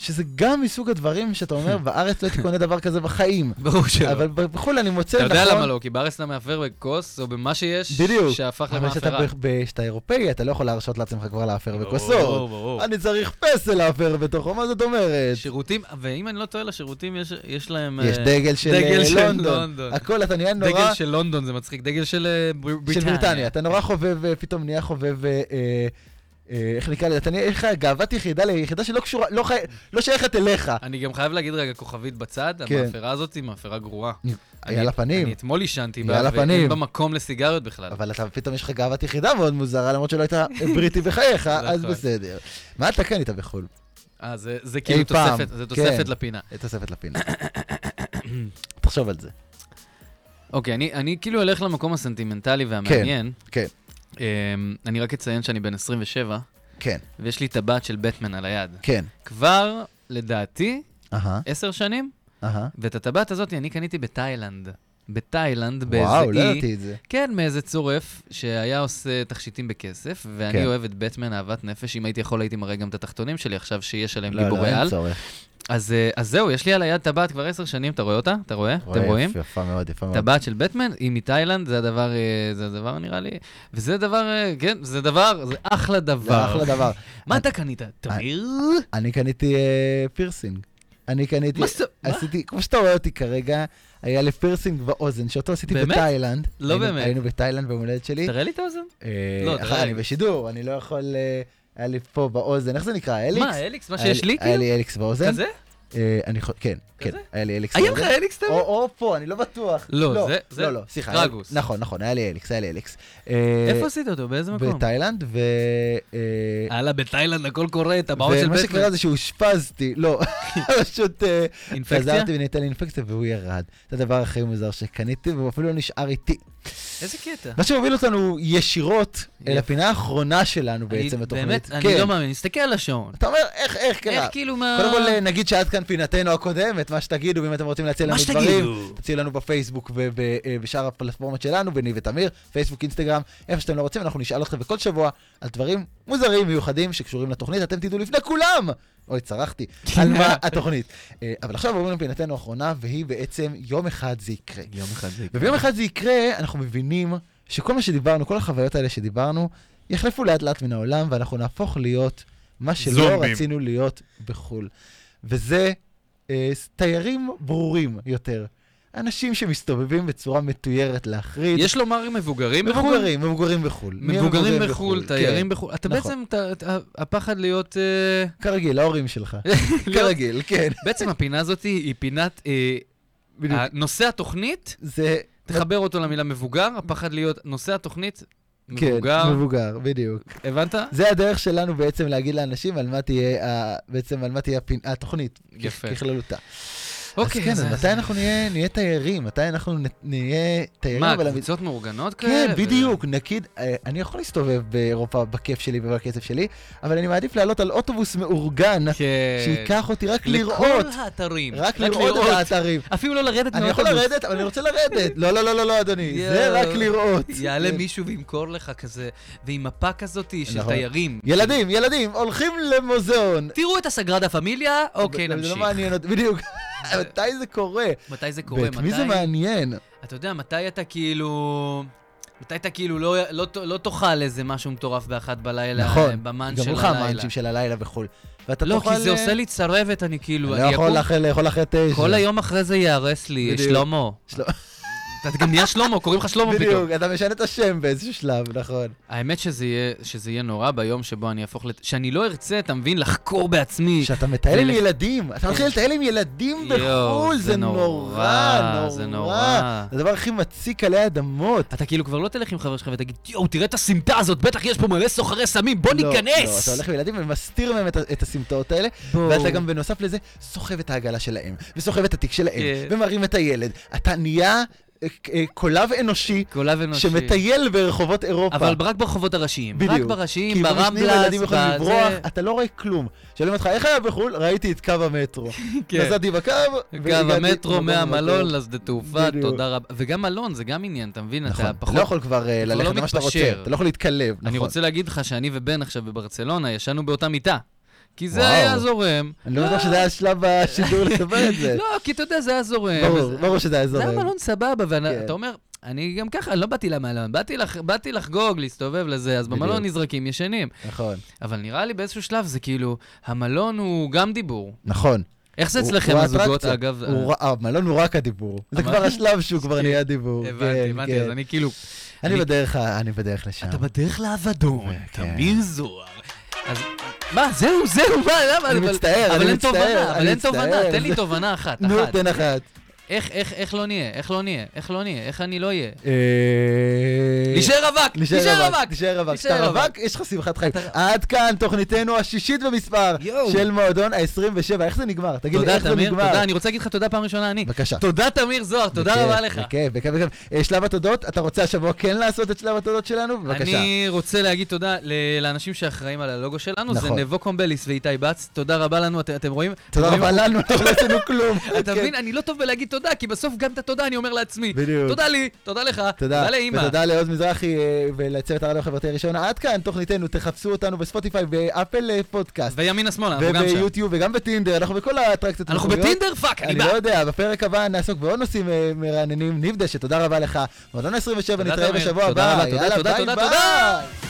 Speaker 3: שזה גם מסוג הדברים שאתה אומר, בארץ לא הייתי קונה דבר כזה בחיים.
Speaker 5: ברור שלא.
Speaker 3: אבל בחו"ל אני מוצא
Speaker 5: כן. אתה
Speaker 3: נכון.
Speaker 5: יודע למה לא, כי בארץ אתה מאפר בכוס או במה שיש,
Speaker 3: בדיוק.
Speaker 5: שהפך
Speaker 3: אבל
Speaker 5: למאפרה. לא,
Speaker 3: כשאתה ב- ב- כשאתה אירופאי, אתה לא יכול להרשות לעצמך כבר לאפר בכוסו.
Speaker 5: ברור, ברור.
Speaker 3: אני צריך פסל לאפר בתוכו, מה זאת אומרת?
Speaker 5: שירותים, ואם אני לא טועה, לשירותים יש- יש להם...
Speaker 3: יש
Speaker 5: אה,
Speaker 3: דגל של
Speaker 5: דגל
Speaker 3: אה,
Speaker 5: של
Speaker 3: לונדון.
Speaker 5: לונדון.
Speaker 3: הכל, אתה נהיה נורא...
Speaker 5: דגל של לונדון זה מצחיק, דגל של אה, בר-
Speaker 3: של
Speaker 5: בריטניה.
Speaker 3: בריטניה. אתה נורא חובב, אה, פתאום נהיה חובב, אה, אה, אה, איך נקרא לזה? אתה נהיה, יש לך גאוות יחידה ליחידה שלא קשורה, לא חי- לא שייכת אליך.
Speaker 5: אני גם חייב להגיד רגע כוכבית בצד,
Speaker 3: כן.
Speaker 5: המאפרה הזאת היא מאפרה גרועה.
Speaker 3: היה
Speaker 5: אני-
Speaker 3: לה פנים.
Speaker 5: אני אתמול עישנתי
Speaker 3: היא על
Speaker 5: בה,
Speaker 3: הפנים.
Speaker 5: ואין בה מקום לסיגריות בכלל.
Speaker 3: אבל אתה פתאום יש לך גאוות יחידה מאוד מוזרה, למרות שלא היית בריטי בחייך, אז
Speaker 5: נכון.
Speaker 3: בסדר. מה אתה קנית בחו"ל?
Speaker 5: אה, זה זה כאילו
Speaker 3: אי פעם,
Speaker 5: תוספת, זה
Speaker 3: כן.
Speaker 5: תוספת לפינה.
Speaker 3: אה, תוספת לפינה. תחשוב על זה.
Speaker 5: אוקיי, אני- אני כאילו אלך למקום הסנטימנטלי והמעניין.
Speaker 3: כן.
Speaker 5: אמ, אני רק אציין שאני בן 27,
Speaker 3: כן,
Speaker 5: ויש לי טבעת של בטמן על היד.
Speaker 3: כן.
Speaker 5: כבר, לדעתי,
Speaker 3: אהה,
Speaker 5: עשר שנים,
Speaker 3: אהה.
Speaker 5: ואת הטבעת הזאת אני קניתי בתאילנד. בתאילנד, באיזה אי...
Speaker 3: וואו, לא ידעתי את זה.
Speaker 5: כן, מאיזה צורף שהיה עושה תכשיטים בכסף, ואני
Speaker 3: כן.
Speaker 5: אוהב את בטמן אהבת נפש, אם הייתי יכול הייתי מראה גם את התחתונים שלי עכשיו שיש עליהם
Speaker 3: לא, לא,
Speaker 5: גיבורי על.
Speaker 3: אין צורך.
Speaker 5: אז, אה, אז זהו, יש לי על היד טבעת כבר עשר שנים, אתה רואה אותה? אתה רואה? אתם
Speaker 3: רואה,
Speaker 5: רואים?
Speaker 3: יפה, יפה מאוד, יפה מאוד.
Speaker 5: טבעת של בטמן, היא מתאילנד, זה הדבר, אה, זה הדבר נראה לי, וזה דבר, אה, כן, זה דבר, זה אחלה
Speaker 3: זה
Speaker 5: דבר.
Speaker 3: לא, אחלה דבר.
Speaker 5: מה אתה קנית? תמיר?
Speaker 3: אני קניתי אה, פירסינג. אני קניתי,
Speaker 5: מה זה? מה?
Speaker 3: עשיתי, כמו שאתה רואה אותי כרגע, היה לי פירסינג באוזן, שאותו עשיתי
Speaker 5: באמת?
Speaker 3: בתאילנד.
Speaker 5: לא
Speaker 3: היינו-
Speaker 5: באמת.
Speaker 3: היינו בתאילנד ביום הולדת שלי.
Speaker 5: תראה לי את האוזן.
Speaker 3: אה,
Speaker 5: לא,
Speaker 3: אחר-
Speaker 5: תראה.
Speaker 3: אני בשידור, אני לא יכול... אה, היה לי פה באוזן, איך זה נקרא? אליקס?
Speaker 5: מה, אליקס? מה
Speaker 3: היה
Speaker 5: שיש לי,
Speaker 3: היה
Speaker 5: כאילו?
Speaker 3: לי אליקס באוזן.
Speaker 5: כזה?
Speaker 3: אה, אני חו- כן, כן,
Speaker 5: כזה?
Speaker 3: היה לי אליקס
Speaker 5: היה לך
Speaker 3: באוזן.
Speaker 5: אליקס תמיר?
Speaker 3: או או פה, אני לא בטוח.
Speaker 5: לא, זה- זה-
Speaker 3: לא, לא, סליחה. היה-
Speaker 5: רגוס.
Speaker 3: נכון, נכון, היה לי אליקס, היה לי אליקס. אה,
Speaker 5: איפה עשית אותו? באיזה מקום?
Speaker 3: בתאילנד, ו... אה,
Speaker 5: הלאה, בתאילנד הכל קורה, טבעות של
Speaker 3: ומה שקרה
Speaker 5: בטמן.
Speaker 3: זה שאושפזתי, לא, פשוט אה,
Speaker 5: אינפקציה?
Speaker 3: חזרתי וניתן לי אינפקציה והוא ירד. זה הדבר הכי מוזר שקניתי, והוא אפילו לא נשאר איתי.
Speaker 5: איזה קטע.
Speaker 3: מה שמוביל אותנו ישירות אל
Speaker 5: יפה.
Speaker 3: הפינה האחרונה שלנו
Speaker 5: אני-
Speaker 3: בעצם בתוכנית.
Speaker 5: באמת, אני
Speaker 3: כן.
Speaker 5: לא מאמין, אני מסתכל על השעון.
Speaker 3: אתה אומר, איך, איך קרה?
Speaker 5: איך כאילו מה...
Speaker 3: קודם כל, כן, אה, נגיד שעד כאן פינתנו הקודמת, מה שתגידו, ואם אתם רוצים להציע לנו
Speaker 5: מה
Speaker 3: דברים,
Speaker 5: שתגידו.
Speaker 3: תציעו לנו בפייסבוק ובשאר הפלטפורמות שלנו, בני ותמיר, פייסבוק, אינסטגרם, איפה שאתם לא רוצים, אנחנו נשאל אתכם בכל שבוע על דברים מוזרים, מיוחדים, שקשורים לתוכנית, אתם תדעו לפני כולם! אוי, צרחתי, על מה התוכנית. אה, אבל עכשיו עוברים לפינתנו האחרונה, והיא בעצם יום אחד זה יקרה.
Speaker 5: יום אחד זה יקרה.
Speaker 3: וביום אחד זה יקרה, אנחנו מבינים שכל מה שדיברנו, כל החוויות האלה שדיברנו, יחלפו לאט לאט מן העולם, ואנחנו נהפוך להיות מה שלא
Speaker 6: זומבים.
Speaker 3: רצינו להיות בחו"ל. וזה אה, תיירים ברורים יותר. אנשים שמסתובבים בצורה מתוירת להחריד.
Speaker 5: יש לומר מבוגרים בחו"ל?
Speaker 3: מבוגרים, מבוגרים בחו"ל. מי
Speaker 5: מבוגרים
Speaker 3: המבוגרים
Speaker 5: בחו"ל,
Speaker 3: כן.
Speaker 5: תיירים בחו"ל. אתה
Speaker 3: נכון.
Speaker 5: בעצם, אתה- אתה- הפחד להיות... אה,
Speaker 3: כרגיל, ההורים שלך.
Speaker 5: להיות-
Speaker 3: כרגיל, כן.
Speaker 5: בעצם הפינה הזאת היא פינת... אה,
Speaker 3: בדיוק.
Speaker 5: נושא התוכנית,
Speaker 3: זה...
Speaker 5: תחבר אותו למילה מבוגר, הפחד להיות נושא התוכנית, מבוגר,
Speaker 3: כן, מבוגר, בדיוק.
Speaker 5: הבנת?
Speaker 3: זה הדרך שלנו בעצם להגיד לאנשים על מה תהיה, ה- בעצם על מה תהיה הפינ- התוכנית.
Speaker 5: יפה.
Speaker 3: ככללותה.
Speaker 5: אוקיי,
Speaker 3: אז כן, אז
Speaker 5: זה-
Speaker 3: מתי אנחנו נהיה נהיה תיירים? מתי אנחנו נ- נהיה תיירים?
Speaker 5: מה,
Speaker 3: אבל-
Speaker 5: קבוצות אוקיי. מאורגנות כאלה?
Speaker 3: כן, בדיוק, נגיד, אה, אני יכול להסתובב באירופה בכיף שלי ובקצב שלי, אבל אני מעדיף לעלות על אוטובוס מאורגן,
Speaker 5: כן.
Speaker 3: שייקח אותי רק לראות,
Speaker 5: לכל האתרים.
Speaker 3: רק לראות את האתרים.
Speaker 5: אפילו לא לרדת
Speaker 3: אני יכול
Speaker 5: מהאוטובוס.
Speaker 3: לרדת, אבל אני רוצה לרדת. לא, לא, לא, לא, לא, אדוני, זה
Speaker 5: יואו.
Speaker 3: רק לראות.
Speaker 5: יעלה
Speaker 3: כן.
Speaker 5: מישהו וימכור לך כזה, ועם מפה כזאת של
Speaker 3: נכון.
Speaker 5: תיירים.
Speaker 3: ילדים, ילדים, הולכים למוזיאון.
Speaker 5: תראו את הסגרדה פמיליה, אוקיי,
Speaker 3: זה- זה
Speaker 5: נמשיך.
Speaker 3: לא מעניין אותי, בדיוק. מתי זה קורה?
Speaker 5: מתי זה קורה?
Speaker 3: ואת מי זה
Speaker 5: מתי...
Speaker 3: מעניין?
Speaker 5: אתה יודע, מתי אתה כאילו... מתי אתה כאילו לא, לא, ת- לא תאכל איזה משהו מטורף באחת בלילה,
Speaker 3: נכון,
Speaker 5: במן
Speaker 3: גם
Speaker 5: של
Speaker 3: לך
Speaker 5: הלילה.
Speaker 3: המאנצ'ים של הלילה וכו'. ואתה
Speaker 5: לא,
Speaker 3: תאכל,
Speaker 5: כי זה
Speaker 3: אה,
Speaker 5: עושה לי צרבת, אני כאילו...
Speaker 3: לא
Speaker 5: אני
Speaker 3: יכול
Speaker 5: אקום-
Speaker 3: לאכול- לאכול אחרי תשע.
Speaker 5: כל היום אחרי זה ייהרס לי,
Speaker 3: בדיוק.
Speaker 5: שלמה.
Speaker 3: שלמה.
Speaker 5: אתה גם נהיה שלמה, קוראים לך שלמה פתאום.
Speaker 3: בדיוק, אתה משנה את השם באיזשהו שלב, נכון.
Speaker 5: האמת שזה יהיה, שזה יהיה נורא ביום שבו אני אהפוך לת... שאני לא ארצה, אתה מבין? לחקור בעצמי.
Speaker 3: כשאתה מטייל עם
Speaker 5: ולפ-
Speaker 3: ילדים, אתה מתחיל לטייל עם ילדים
Speaker 5: אה. יואו,
Speaker 3: בחו"ל,
Speaker 5: זה
Speaker 3: זה נורא,
Speaker 5: נורא,
Speaker 3: נורא.
Speaker 5: זה נורא.
Speaker 3: זה הדבר הכי מציק עלי אדמות.
Speaker 5: אתה כאילו כבר לא תלך עם חבר שלך ותגיד, יואו, תראה את הסמטה הזאת, בטח יש פה מלא סוחרי סמים, בוא
Speaker 3: לא,
Speaker 5: ניכנס!
Speaker 3: לא, אתה הולך עם ילדים ומסתיר מהם את ה- את הסמטאות האלה,
Speaker 5: בואו.
Speaker 3: ואתה גם בנוסף לזה סוחב את העגלה שלהם, וסוחב את התיק שלהם,
Speaker 5: כן.
Speaker 3: ומרים את הילד. אתה נהיה אה, אה, קולב אנושי
Speaker 5: קולב אנושי.
Speaker 3: שמטייל ברחובות אירופה.
Speaker 5: אבל רק ברחובות הראשיים. רק
Speaker 3: בדיוק.
Speaker 5: בראשיים,
Speaker 3: כי במשנים
Speaker 5: ברמבלס,
Speaker 3: ילדים יכולים
Speaker 5: בזה.
Speaker 3: לברוח, אתה לא רואה כלום. שואלים אותך, איך היה בחו"ל? ראיתי את קו המטרו.
Speaker 5: כן.
Speaker 3: נסעתי בקו,
Speaker 5: גם
Speaker 3: והגעתי
Speaker 5: המטרו
Speaker 3: למקום
Speaker 5: מהמלון
Speaker 3: המטרו.
Speaker 5: לשדה תעופה,
Speaker 3: לא בדיוק.
Speaker 5: תודה רבה. וגם מלון, זה גם עניין, אתה מבין?
Speaker 3: נכון,
Speaker 5: אתה
Speaker 3: אתה
Speaker 5: פחות...
Speaker 3: לא יכול כבר אה, ללכת למה שאתה רוצה,
Speaker 5: מתפשר.
Speaker 3: אתה לא יכול להתקלב, נכון.
Speaker 5: אני רוצה להגיד לך שאני ובן עכשיו בברצלונה ישנו באותה מיטה. כי זה
Speaker 3: וואו.
Speaker 5: היה זורם.
Speaker 3: אני לא בטוח שזה היה שלב השידור לספר את זה.
Speaker 5: לא, כי אתה יודע, זה היה זורם.
Speaker 3: אה. ברור,
Speaker 5: וזה-
Speaker 3: ברור שזה היה
Speaker 5: זה היה
Speaker 3: זורם.
Speaker 5: מלון סבבה,
Speaker 3: כן.
Speaker 5: ואתה אומר, אני גם ככה, אני לא באתי למלון, באתי לח- באתי לחגוג, להסתובב לזה, אז במלון
Speaker 3: בדיוק.
Speaker 5: נזרקים ישנים.
Speaker 3: נכון,
Speaker 5: אבל נראה לי באיזשהו שלב זה כאילו, המלון הוא גם דיבור.
Speaker 3: נכון.
Speaker 5: איך זה
Speaker 3: הוא-
Speaker 5: אצלכם,
Speaker 3: הוא
Speaker 5: הזוגות,
Speaker 3: האטרקציה.
Speaker 5: אגב?
Speaker 3: הוא ר- אה, המלון הוא רק הדיבור. זה
Speaker 5: המ-
Speaker 3: כבר השלב שהוא כבר
Speaker 5: כן.
Speaker 3: נהיה דיבור.
Speaker 5: הבנתי,
Speaker 3: כן,
Speaker 5: הבנתי,
Speaker 3: כן.
Speaker 5: אז אני כאילו...
Speaker 3: אני
Speaker 5: אני-
Speaker 3: בדרך ה- אני בדרך לשם.
Speaker 5: אתה בדרך לאבדון,
Speaker 3: כן.
Speaker 5: תמיר זוהר. אז מה, זהו, זהו, מה, למה?
Speaker 3: אני
Speaker 5: אבל-
Speaker 3: מצטער,
Speaker 5: אבל
Speaker 3: אני
Speaker 5: אין
Speaker 3: מצטער,
Speaker 5: תובנה, אבל
Speaker 3: אני
Speaker 5: אין
Speaker 3: מצטער.
Speaker 5: תובנה, תן לי תובנה אחת,
Speaker 3: נו,
Speaker 5: אחת.
Speaker 3: תן אחת.
Speaker 5: איך, איך, איך לא נהיה? איך לא נהיה? איך לא נהיה? איך אני לא אהיה?
Speaker 3: אה,
Speaker 5: להישאר רווק!
Speaker 3: נשאר
Speaker 5: להישאר
Speaker 3: רווק,
Speaker 5: רווק!
Speaker 3: נשאר רווק.
Speaker 5: נשאר
Speaker 3: כשאתה
Speaker 5: רווק.
Speaker 3: רווק, יש לך שמחת חיים. עד כאן תוכניתנו השישית במספר
Speaker 5: יואו.
Speaker 3: של מועדון ה-27. איך זה נגמר? תגיד לי,
Speaker 5: תודה,
Speaker 3: איך זה
Speaker 5: תמיר,
Speaker 3: נגמר?
Speaker 5: תודה, אני רוצה להגיד לך תודה פעם ראשונה, אני.
Speaker 3: בבקשה.
Speaker 5: תודה, תמיר זוהר, תודה
Speaker 3: בכיף,
Speaker 5: רבה לך.
Speaker 3: בכיף, בכיף, בכיף. אה, שלב התודות, אתה רוצה השבוע כן לעשות את שלב התודות שלנו? בבקשה.
Speaker 5: אני רוצה להגיד תודה ל- לאנשים שאחראים על הלוגו שלנו, זה
Speaker 3: נכון.
Speaker 5: נבו קומבליס ואיתי בץ, תודה רבה לנו, את- אתם רואים?
Speaker 3: תודה
Speaker 5: אתם רואים?
Speaker 3: רבה לנו, אנחנו לא עשינו כלום.
Speaker 5: אתה
Speaker 3: כן.
Speaker 5: מבין, אני לא טוב בלהגיד תודה, כי בסוף גם את התודה אני אומר לעצמי.
Speaker 3: בדיוק.
Speaker 5: תודה לי, תודה לך,
Speaker 3: תודה,
Speaker 5: תודה לאימא.
Speaker 3: ותודה לעוז מזרחי אה, ולצוות הרדיו החברתי הראשון. עד כאן תוכניתנו, תחפשו אותנו בספוטיפיי, באפל אה, פודקאסט,
Speaker 5: וימינה שמאלה, אנחנו גם שם.
Speaker 3: וביוטיוב וגם בטינדר, אנחנו בכל האטרקציות.
Speaker 5: אנחנו
Speaker 3: המקומיות.
Speaker 5: בטינדר? פאק, אני
Speaker 3: אני
Speaker 5: בא.
Speaker 3: לא יודע, בפרק הבא נעסוק בעוד נושאים אה, מרעננים. נבדשת, תודה רבה לך. מועדון 27,
Speaker 5: תודה,
Speaker 3: נתראה
Speaker 5: תמיר.
Speaker 3: בשבוע
Speaker 5: תודה
Speaker 3: הבא.
Speaker 5: רבה, תודה,
Speaker 3: יאללה,
Speaker 5: תודה,
Speaker 3: ביי,
Speaker 5: תודה,
Speaker 3: ביי.
Speaker 5: תודה.